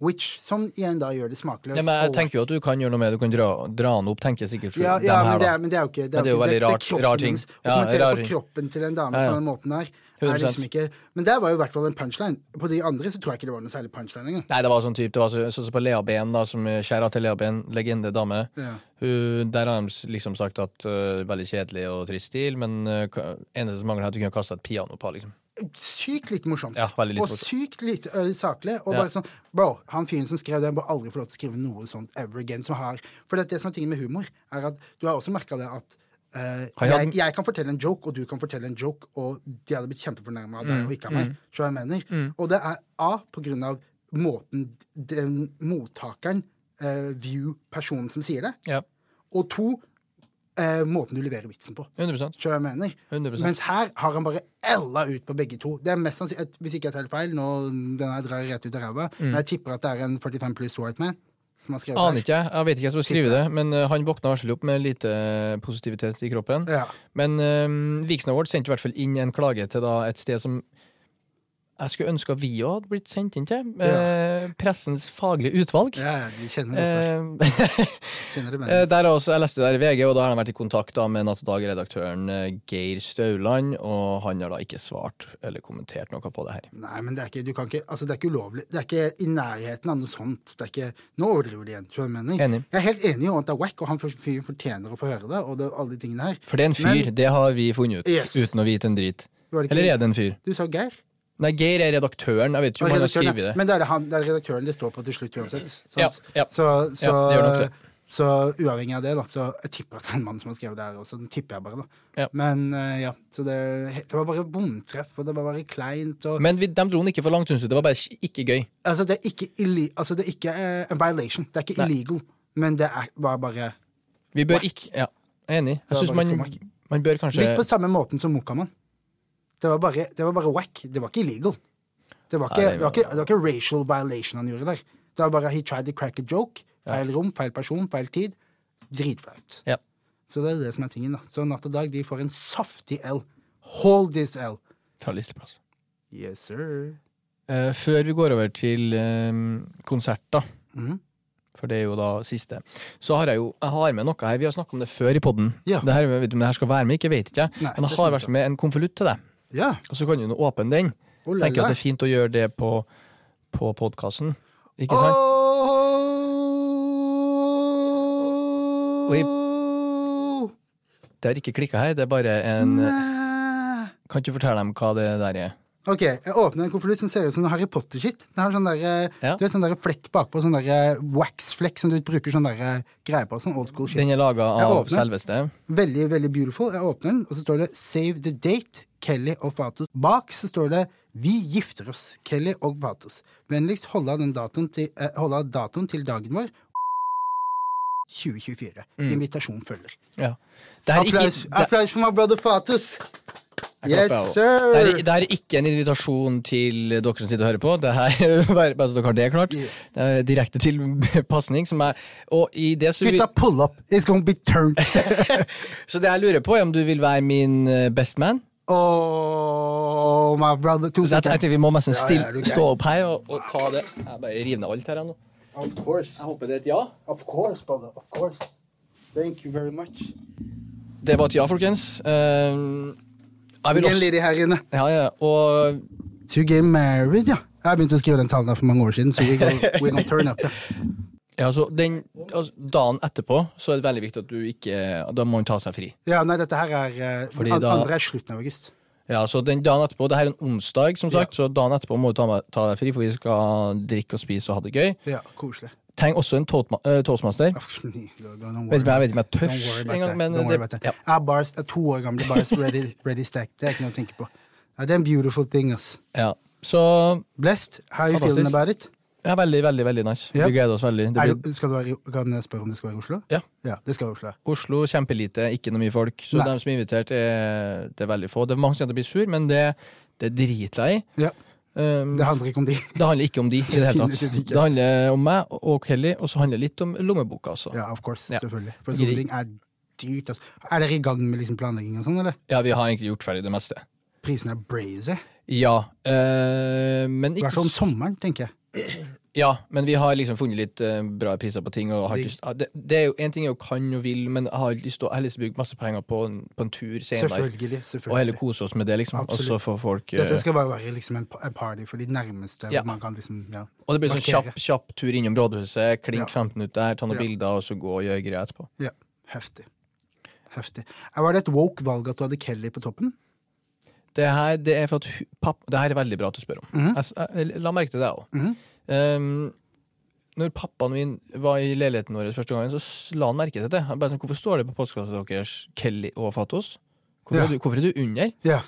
Speaker 1: Which, som igjen da gjør det smakløst.
Speaker 2: Ja, men jeg
Speaker 1: og-
Speaker 2: tenker jo at du kan gjøre noe med det. Du kan dra, dra den opp, tenker jeg sikkert. for
Speaker 1: ja,
Speaker 2: dem
Speaker 1: ja, men
Speaker 2: her,
Speaker 1: det
Speaker 2: da.
Speaker 1: er, men det er jo ikke
Speaker 2: Men det er jo veldig rart-
Speaker 1: kroppen
Speaker 2: rar ting.
Speaker 1: hennes. Å
Speaker 2: Ja,
Speaker 1: kommentere
Speaker 2: rar
Speaker 1: på
Speaker 2: ting.
Speaker 1: kroppen til en dame
Speaker 2: Ja, ja.
Speaker 1: på den måten der, er
Speaker 2: 100%.
Speaker 1: liksom ikke Men der var jo i hvert fall en punchline. På de andre så tror jeg ikke det var noe særlig punchline engang.
Speaker 2: Nei, det var sånn type, det var så- sånn som på Lea Behn, da, som eh, kjære til Lea Behn, legende dame.
Speaker 1: Ja.
Speaker 2: Hun, der har de s- liksom sagt at eh, veldig kjedelig og trist stil, men eh, ka- eneste som mangler er at du kunne kaste et piano på, liksom.
Speaker 1: Sykt lite morsomt.
Speaker 2: Ja, veldig lite
Speaker 1: og
Speaker 2: morsomt.
Speaker 1: sykt lite ø, saklig. Og
Speaker 2: Ja.
Speaker 1: bare sånn Bro, han fyren som skrev det, bør aldri få lov til å skrive noe sånt ever again. Som har, for det, det som er tingen med humor, er at du har også merka det at ø,
Speaker 2: Har jeg
Speaker 1: jeg,
Speaker 2: hatt-
Speaker 1: jeg kan fortelle en joke, og du kan fortelle en joke, og de hadde blitt kjempefornærma av deg
Speaker 2: Mm,
Speaker 1: og ikke av meg. Så jeg mener. Og det er A, på grunn av måten den mottakeren ø, view personen som sier det,
Speaker 2: Ja,
Speaker 1: og to, ø, måten du leverer vitsen på.
Speaker 2: 100
Speaker 1: Skjønner du hva jeg mener.
Speaker 2: 100%.
Speaker 1: Mens her har han bare ella ut på begge to. Det er mest sannsynlig, at- Hvis ikke jeg tar helt feil, nå den her drar jeg rett ut av ræva, men jeg tipper at det er en 45 pluss white man som har skrevet
Speaker 2: Mm. Aner
Speaker 1: her.
Speaker 2: ikke, jeg Jeg vet ikke jeg som har skrevet det, men eh, han våkna i hvert fall opp med lite positivitet i kroppen.
Speaker 1: Ja.
Speaker 2: Men eh, Vixen Award sendte i hvert fall inn en klage til da, et sted som jeg skulle ønske at vi òg hadde blitt sendt inn til. eh, pressens faglige utvalg.
Speaker 1: Ja, ja, de kjenner oss der.
Speaker 2: Eh,
Speaker 1: Kjenner det
Speaker 2: Eh,
Speaker 1: med
Speaker 2: (laughs) Der er også, jeg leste det der i VG, og da har han vært i kontakt da med Natt og Dag-redaktøren eh, Geir Stauland, og han har da ikke svart eller kommentert noe på det her.
Speaker 1: Nei, men det er ikke, du kan ikke, altså det er ikke ulovlig. Det er ikke i nærheten av noe sånt. Det er ikke, nå overdriver de igjen. Skjønner du hva jeg mener?
Speaker 2: Enig.
Speaker 1: Jeg er helt enig i at det er wack, og han fyren fortjener å få høre det, og det, alle de tingene her.
Speaker 2: For det er en fyr, det har vi funnet ut,
Speaker 1: Yes.
Speaker 2: uten å vite en drit.
Speaker 1: Var det ikke-
Speaker 2: Eller er det en fyr?
Speaker 1: Du sa Geir?
Speaker 2: Nei, Geir er redaktøren, jeg vet ikke om han har
Speaker 1: Redaktøren,
Speaker 2: skrevet det.
Speaker 1: Men det er, det, han, det er redaktøren det står på til slutt uansett. sant?
Speaker 2: Ja, ja.
Speaker 1: Så, så,
Speaker 2: Ja, det gjør nok det.
Speaker 1: så uavhengig av det, da, så jeg tipper at det er en mann som har skrevet det her også. Den tipper jeg bare, da.
Speaker 2: Ja.
Speaker 1: Men eh, ja, så det, det var bare bomtreff, og det var bare kleint, og
Speaker 2: Men vi, de dro den ikke for langt, syns du. Det var bare ikke- ikke gøy.
Speaker 1: Altså, det er ikke, illi, altså, det er ikke eh, en violation. Det er ikke
Speaker 2: Nei.
Speaker 1: illegal, men det er, var bare
Speaker 2: Vi bør ikke Ja, jeg er enig. Jeg
Speaker 1: var
Speaker 2: syns
Speaker 1: bare
Speaker 2: man,
Speaker 1: skomack.
Speaker 2: man bør kanskje
Speaker 1: Litt på samme måten som Mokaman. Det var bare, det var bare whack. Det var ikke illegal. Det var ikke,
Speaker 2: Nei, det
Speaker 1: det var ikke, det var ikke racial violation han gjorde der. Det var bare he tried to crack a joke. Feil rom, feil person, feil tid. Dritflaut.
Speaker 2: Ja.
Speaker 1: Så det er det som er tingen, da. Så Natt og Dag de får en saftig L. Hold this L.
Speaker 2: Fra listeplass.
Speaker 1: Yes, sir.
Speaker 2: Eh, før vi går over til eh, konsert, da.
Speaker 1: Mhm.
Speaker 2: For det er jo da siste. Så har jeg jo jeg har med noe her. Vi har snakka om det før i poden.
Speaker 1: Ja.
Speaker 2: Det her, vet du, om det her skal være med, ikke vet ikke jeg.
Speaker 1: Nei,
Speaker 2: Men jeg
Speaker 1: det
Speaker 2: har
Speaker 1: skjønte
Speaker 2: vært med en konvolutt til deg.
Speaker 1: Ja.
Speaker 2: Og så kan du nå åpne den.
Speaker 1: Oh, la,
Speaker 2: Tenker
Speaker 1: la.
Speaker 2: at det er fint å gjøre det på, på podkasten. Ikke sant?
Speaker 1: Oh,
Speaker 2: Oi. Det har ikke klikka her. Det er bare en
Speaker 1: Nei.
Speaker 2: Kan ikke du fortelle dem hva det der er?
Speaker 1: Ok, jeg åpner en konvolutt som ser ut som noe Harry Potter-shit. Den har sånn der, eh,
Speaker 2: Ja.
Speaker 1: Du vet sånn der flekk bakpå, sånn der eh, wax-flekk som du bruker sånn der eh, greier på. Sånn old school shit.
Speaker 2: Den er laga
Speaker 1: Jeg
Speaker 2: av
Speaker 1: åpner.
Speaker 2: selveste
Speaker 1: Veldig, veldig beautiful. Jeg åpner den, og så står det 'Save the date', Kelly og Vatos. Bak så står det 'Vi gifter oss', Kelly og Vatos. Vennligst holde av, den datoen, til, eh, holde av datoen til dagen vår. 2024. Invitasjon følger.
Speaker 2: Ja. Mm. Det her er
Speaker 1: Applaus,
Speaker 2: ikke-
Speaker 1: applaus for my brother Fatus!
Speaker 2: Jeg
Speaker 1: Yes,
Speaker 2: klapper,
Speaker 1: sir!
Speaker 2: jeg også. Det her, det her er ikke en invitasjon til dere som sitter og hører på. Det her, bare bare så dere har det klart.
Speaker 1: Yeah.
Speaker 2: Det er direkte (laughs) tilpasning. Som er, og i det så, vil,
Speaker 1: Gutta, pull up! It's gonna be turned!
Speaker 2: så det jeg lurer på, er om du vil være min eh, best man.
Speaker 1: Oh, my brother To
Speaker 2: Så jeg, jeg
Speaker 1: seconds.
Speaker 2: tenker Vi må nesten
Speaker 1: Ja, ja,
Speaker 2: stille,
Speaker 1: er du gæren?
Speaker 2: stå opp her og, og ta det. Jeg bare river ned alt her jeg, nå.
Speaker 1: Of course.
Speaker 2: Jeg håper det er et ja.
Speaker 1: Of course, brother. Of course. Thank you very much.
Speaker 2: Det var et ja, folkens. Ehm, jeg vil
Speaker 1: En
Speaker 2: også,
Speaker 1: lady her inne.
Speaker 2: ja, ja, og
Speaker 1: To get married, ja. Jeg har begynt å skrive den talen der for mange år siden, så we gonna,
Speaker 2: (laughs)
Speaker 1: we gonna turn up. Ja.
Speaker 2: ja, så den, altså, dagen etterpå så er det veldig viktig at du ikke Da må man ta seg fri.
Speaker 1: ja, nei, dette her er eh,
Speaker 2: Fordi
Speaker 1: an-
Speaker 2: da-
Speaker 1: Andre er slutten av august.
Speaker 2: Ja, så den dagen etterpå, det her er en onsdag, som
Speaker 1: Ja.
Speaker 2: sagt, så dagen etterpå må du ta, med- ta deg fri, for vi skal drikke og spise og ha det gøy.
Speaker 1: Ja, koselig.
Speaker 2: Tenk også en toastma eh, toastmaster.
Speaker 1: Uff, don't- don't worry.
Speaker 2: Vet ikke, jeg vet ikke om jeg tør
Speaker 1: Don't worry about
Speaker 2: engang,
Speaker 1: that.
Speaker 2: men
Speaker 1: Don't worry
Speaker 2: det-
Speaker 1: about that.
Speaker 2: ja.
Speaker 1: Jeg har bars, jeg har to år gamle bars ready, ready stack. Det er ikke noe å tenke på. Ja, det er en beautiful thing, ass.
Speaker 2: Ja. Så
Speaker 1: Blessed. How are you
Speaker 2: Fantastisk.
Speaker 1: feeling about it?
Speaker 2: ja, veldig, veldig veldig nice.
Speaker 1: Ja.
Speaker 2: Vi gleder oss veldig. Det
Speaker 1: Er
Speaker 2: blir
Speaker 1: du, skal det være, i- kan jeg spørre om det skal være i Oslo?
Speaker 2: Ja.
Speaker 1: det skal være i Oslo.
Speaker 2: Oslo, kjempelite, ikke noe mye folk. Så
Speaker 1: Nei.
Speaker 2: dem som er invitert, er, det er veldig få. Det er mange som blir sur, men det, det driter jeg i.
Speaker 1: Ja,
Speaker 2: Um,
Speaker 1: det handler ikke om de.
Speaker 2: det handler ikke om de i det hele tatt.
Speaker 1: Definitivt ikke.
Speaker 2: Det handler om meg og Kelly, og så handler det litt om lommeboka også. Ja.
Speaker 1: Ja, of course,
Speaker 2: Ja.
Speaker 1: selvfølgelig. For
Speaker 2: Gir
Speaker 1: sånne
Speaker 2: ikke.
Speaker 1: ting er dyrt, altså. Er dere i gang med liksom planlegging og sånn, eller?
Speaker 2: vi har egentlig gjort ferdig det meste.
Speaker 1: Prisene er brazy.
Speaker 2: Ja, eh, men
Speaker 1: I
Speaker 2: ikke
Speaker 1: hvert fall om sommeren, tenker jeg.
Speaker 2: Ja, men vi har liksom funnet litt eh, bra priser på ting. Og har ikke lyst, ah, det, det er jo en ting jeg jo kan og vil, men jeg har lyst til å jeg har lyst til å bruke masse penger på en, på en tur senere.
Speaker 1: Selvfølgelig.
Speaker 2: Og heller
Speaker 1: selvfølgelig.
Speaker 2: kose oss med det, liksom.
Speaker 1: Absolutt.
Speaker 2: Og så får folk eh,
Speaker 1: Dette skal bare være liksom en pa- en party for de nærmeste.
Speaker 2: Ja.
Speaker 1: hvor Man kan liksom, ja.
Speaker 2: Og det blir sånn
Speaker 1: markere.
Speaker 2: kjapp, kjapp tur innom rådhuset, klink
Speaker 1: Ja.
Speaker 2: 15 minutter der, ta noen
Speaker 1: Ja.
Speaker 2: bilder, og så gå og gjøre greier etterpå.
Speaker 1: Ja, heftig. Heftig. Eh, Var det et woke valg at du hadde Kelly på toppen?
Speaker 2: Det her, det er for at hu- papp, det her er veldig bra at du spør om. Jeg s- jeg, la merke til det òg.
Speaker 1: Mhm.
Speaker 2: Um, når pappaen min var i leiligheten vår første gangen, så s- la han merke til det. Han bare sånn, Hvorfor står det på postkassa deres Kelly og Fatos? Hvorfor,
Speaker 1: Ja.
Speaker 2: er, du, hvorfor er du under?
Speaker 1: Ja.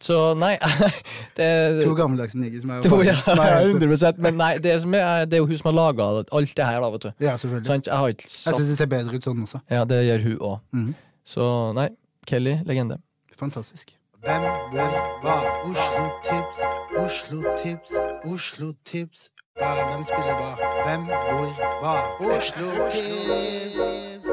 Speaker 2: Så nei (laughs) det,
Speaker 1: To gammeldagse nigger som er
Speaker 2: To, (laughs) ja,
Speaker 1: Nei, jeg vet
Speaker 2: 100 Men nei, det, som er, det er jo hun som har laga alt det her, da, vet du.
Speaker 1: du. Ja, selvfølgelig.
Speaker 2: Sant? Jeg har ikke
Speaker 1: Jeg
Speaker 2: sagt
Speaker 1: syns det ser bedre ut sånn også.
Speaker 2: Ja, det gjør hun òg.
Speaker 1: Mhm.
Speaker 2: Så nei, Kelly, legende.
Speaker 1: Fantastisk. Hvem, hvor, hva? Oslo-tips, Oslo-tips, Oslo-tips. Hva, hvem spiller hva? Hvem, hvor, hva? Oslo-tips!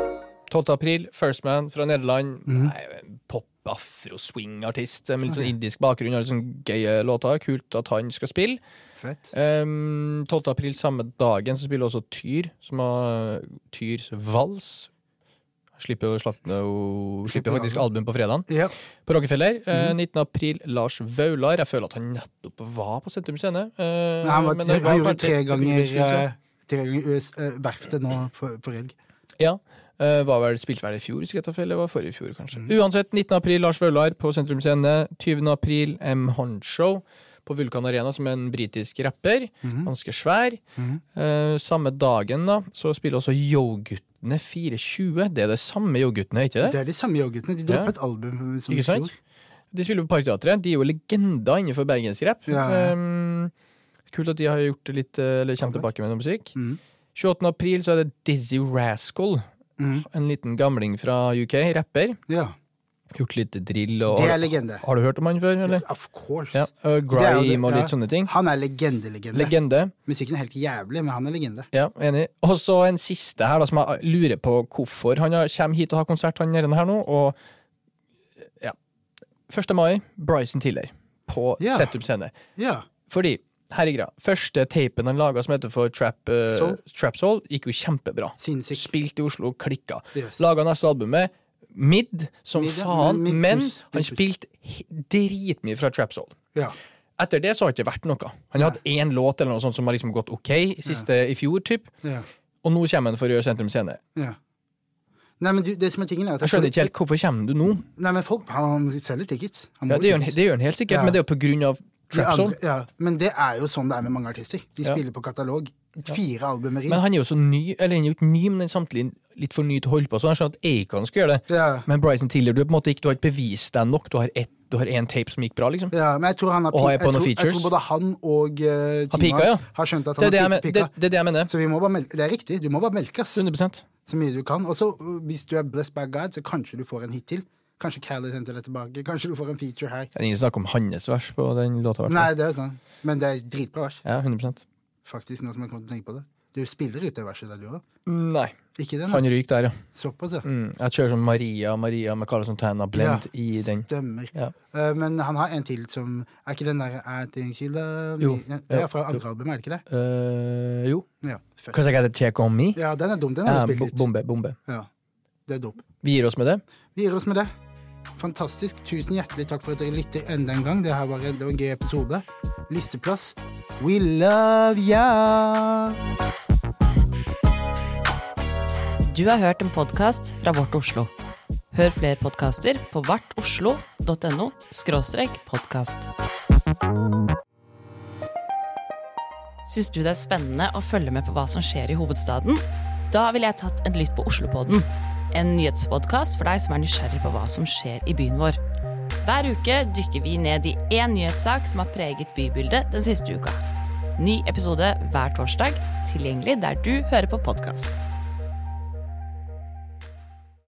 Speaker 2: 12. april, First Man fra Nederland.
Speaker 1: Mhm.
Speaker 2: Nei, en Pop, afro, swing-artist med litt sånn indisk bakgrunn og litt sånn gøye låter. Kult at han skal spille.
Speaker 1: Fett.
Speaker 2: Ehm, 12. april samme dagen så spiller også Tyr, som har Tyrs vals. Slipper jo slapp- no, slipper jo faktisk album på fredagen.
Speaker 1: Ja.
Speaker 2: På Rockefeller,
Speaker 1: Mhm.
Speaker 2: eh, 19. april, Lars Vaular. Jeg føler at han nettopp var på Sentrum Scene. eh,
Speaker 1: Nei, han, var,
Speaker 2: men
Speaker 1: tre, han gjorde
Speaker 2: kanskje- liksom.
Speaker 1: tre ganger, eh, tre ganger US, eh, Verftet nå for, for helg.
Speaker 2: Ja. eh, var vel spilt vel i fjor, skal jeg ta feil? Det var forrige fjor, kanskje.
Speaker 1: Mm.
Speaker 2: Uansett, 19. april, Lars Vaular på Sentrum Scene. 20. april, M. Honcho på Vulkan Arena, som er en britisk rapper.
Speaker 1: Mhm.
Speaker 2: Ganske svær.
Speaker 1: Mm.
Speaker 2: Eh, samme dagen da, så spiller også Yo-guttene 420. Det er det samme Yo-guttene, ikke det?
Speaker 1: Det er de samme yoghurtene. De
Speaker 2: Ja.
Speaker 1: droppet et album eh, som i
Speaker 2: Ikke sant?
Speaker 1: fjor.
Speaker 2: De spiller på Parkteatret. De er jo legender innenfor bergensrap.
Speaker 1: Ja, ja.
Speaker 2: Ehm, kult at de har gjort det litt eh, Eller kommer tilbake med noe musikk.
Speaker 1: Mhm.
Speaker 2: 28. april så er det Dizzy Rascal.
Speaker 1: Mhm.
Speaker 2: En liten gamling fra UK. Rapper.
Speaker 1: Ja.
Speaker 2: Gjort litt drill og
Speaker 1: Det er legende.
Speaker 2: Har du hørt om han før, eller?
Speaker 1: Of course.
Speaker 2: Ja. og
Speaker 1: Det er jo det,
Speaker 2: Grime og
Speaker 1: ja.
Speaker 2: litt sånne ting.
Speaker 1: Han er legende-legende.
Speaker 2: Legende.
Speaker 1: Musikken er helt jævlig, men han er legende.
Speaker 2: Ja, enig. Og så en siste her, da, som jeg lurer på hvorfor. Han har- kommer hit og har konsert, han nede her nå, og ja. 1. mai, Bryson Tiller på
Speaker 1: Ja.
Speaker 2: Settum Scene.
Speaker 1: Ja.
Speaker 2: Fordi, herregud, første tapen han laga som heter for Trap, eh,
Speaker 1: Soul.
Speaker 2: Trap Soul, gikk jo kjempebra.
Speaker 1: Sinnssykt.
Speaker 2: Spilt i Oslo, klikka.
Speaker 1: Yes.
Speaker 2: Laga neste albumet, midd som
Speaker 1: Midd, ja,
Speaker 2: faen,
Speaker 1: men midt
Speaker 2: men
Speaker 1: pluss,
Speaker 2: han
Speaker 1: midt pluss.
Speaker 2: spilte he- dritmye fra Trap Soul.
Speaker 1: Ja.
Speaker 2: Etter det så har det ikke vært noe. Han har hatt én låt eller noe sånt som har liksom gått ok i siste i fjor, typ.
Speaker 1: ja.
Speaker 2: Og nå kommer han for å gjøre Sentrum Scene.
Speaker 1: ja. Nei, men du, det som er tingen er at
Speaker 2: Jeg skjønner ikke helt hvorfor kommer du nå.
Speaker 1: Nei, men folk han selger tickets. Han
Speaker 2: Ja,
Speaker 1: må
Speaker 2: det gjør han,
Speaker 1: tickets.
Speaker 2: det gjør han helt sikkert,
Speaker 1: Ja.
Speaker 2: men det er jo på grunn av
Speaker 1: De
Speaker 2: Trap Soul.
Speaker 1: andre- Ja, men det er jo sånn det er med mange artister. De
Speaker 2: Ja.
Speaker 1: spiller på katalog. Fire albumer inn.
Speaker 2: Men han er jo så ny, eller han er jo ikke ny, men han er samtidig litt for ny til å holde på. Så jeg skjønner at Acon skal gjøre det.
Speaker 1: Ja.
Speaker 2: Men Bryson Tiller, du, er på en måte ikke, du har ikke bevist deg nok. Du har, ett- du har én tape som gikk bra, liksom.
Speaker 1: Ja, men jeg tror, han har,
Speaker 2: Og har jeg
Speaker 1: jeg,
Speaker 2: på noen
Speaker 1: tror, jeg
Speaker 2: features?
Speaker 1: tror både han og eh, teamet
Speaker 2: pika,
Speaker 1: hans
Speaker 2: ja.
Speaker 1: har skjønt at han
Speaker 2: Det er sånn det jeg,
Speaker 1: har
Speaker 2: men-
Speaker 1: pi-
Speaker 2: det,
Speaker 1: pika.
Speaker 2: det, er det jeg mener.
Speaker 1: Så vi må bare melke. Det er riktig. Du må bare melke ass,
Speaker 2: 100
Speaker 1: så mye du kan. Og så, øh, hvis du er blessed by God, så kanskje du får en hit til. Kanskje Khaled henter deg tilbake. Kanskje du får en feature her.
Speaker 2: Ja, Det er ingen snakk om hans vers på den låta. i hvert fall.
Speaker 1: Nei, det er sånn. Men det er dritbra vers,
Speaker 2: Ja, 100
Speaker 1: faktisk, nå som jeg kommer til å tenke på det. Du spiller ut det verset der, du òg.
Speaker 2: Nei.
Speaker 1: Ikke den?
Speaker 2: Han ryker der, ja.
Speaker 1: Såpass, ja.
Speaker 2: Mm. Jeg kjører sånn Maria Maria med Carlos Santana blend
Speaker 1: Ja,
Speaker 2: i den.
Speaker 1: Stemmer.
Speaker 2: Ja.
Speaker 1: Eh, men han har en til som Er ikke den der I think she love
Speaker 2: Jo.
Speaker 1: me Ja, Det
Speaker 2: Ja.
Speaker 1: er fra andre albumet, er det ikke det?
Speaker 2: Eh, jo.
Speaker 1: Ja, fett.
Speaker 2: Cause I gotta check on me.
Speaker 1: ja den er dum. Den har
Speaker 2: Ja,
Speaker 1: du spilt
Speaker 2: bo-
Speaker 1: ut.
Speaker 2: bombe, bombe.
Speaker 1: Ja, det er dope.
Speaker 2: Vi gir oss med det.
Speaker 1: Vi gir oss med det. Fantastisk. Tusen hjertelig takk for at dere lytter enda en gang. Det her var en, det var en gøy episode. Listeplass. We love ya!
Speaker 3: Du har hørt en podkast fra Vårt Oslo. Hør flere podkaster på vartoslo.no podkast. Syns du det er spennende å følge med på hva som skjer i hovedstaden? Da ville jeg tatt en lytt på Oslopodden, en nyhetspodkast for deg som er nysgjerrig på hva som skjer i byen vår. Hver uke dykker vi ned i én nyhetssak som har preget bybildet den siste uka. Ny episode hver torsdag, tilgjengelig der du hører på podkast.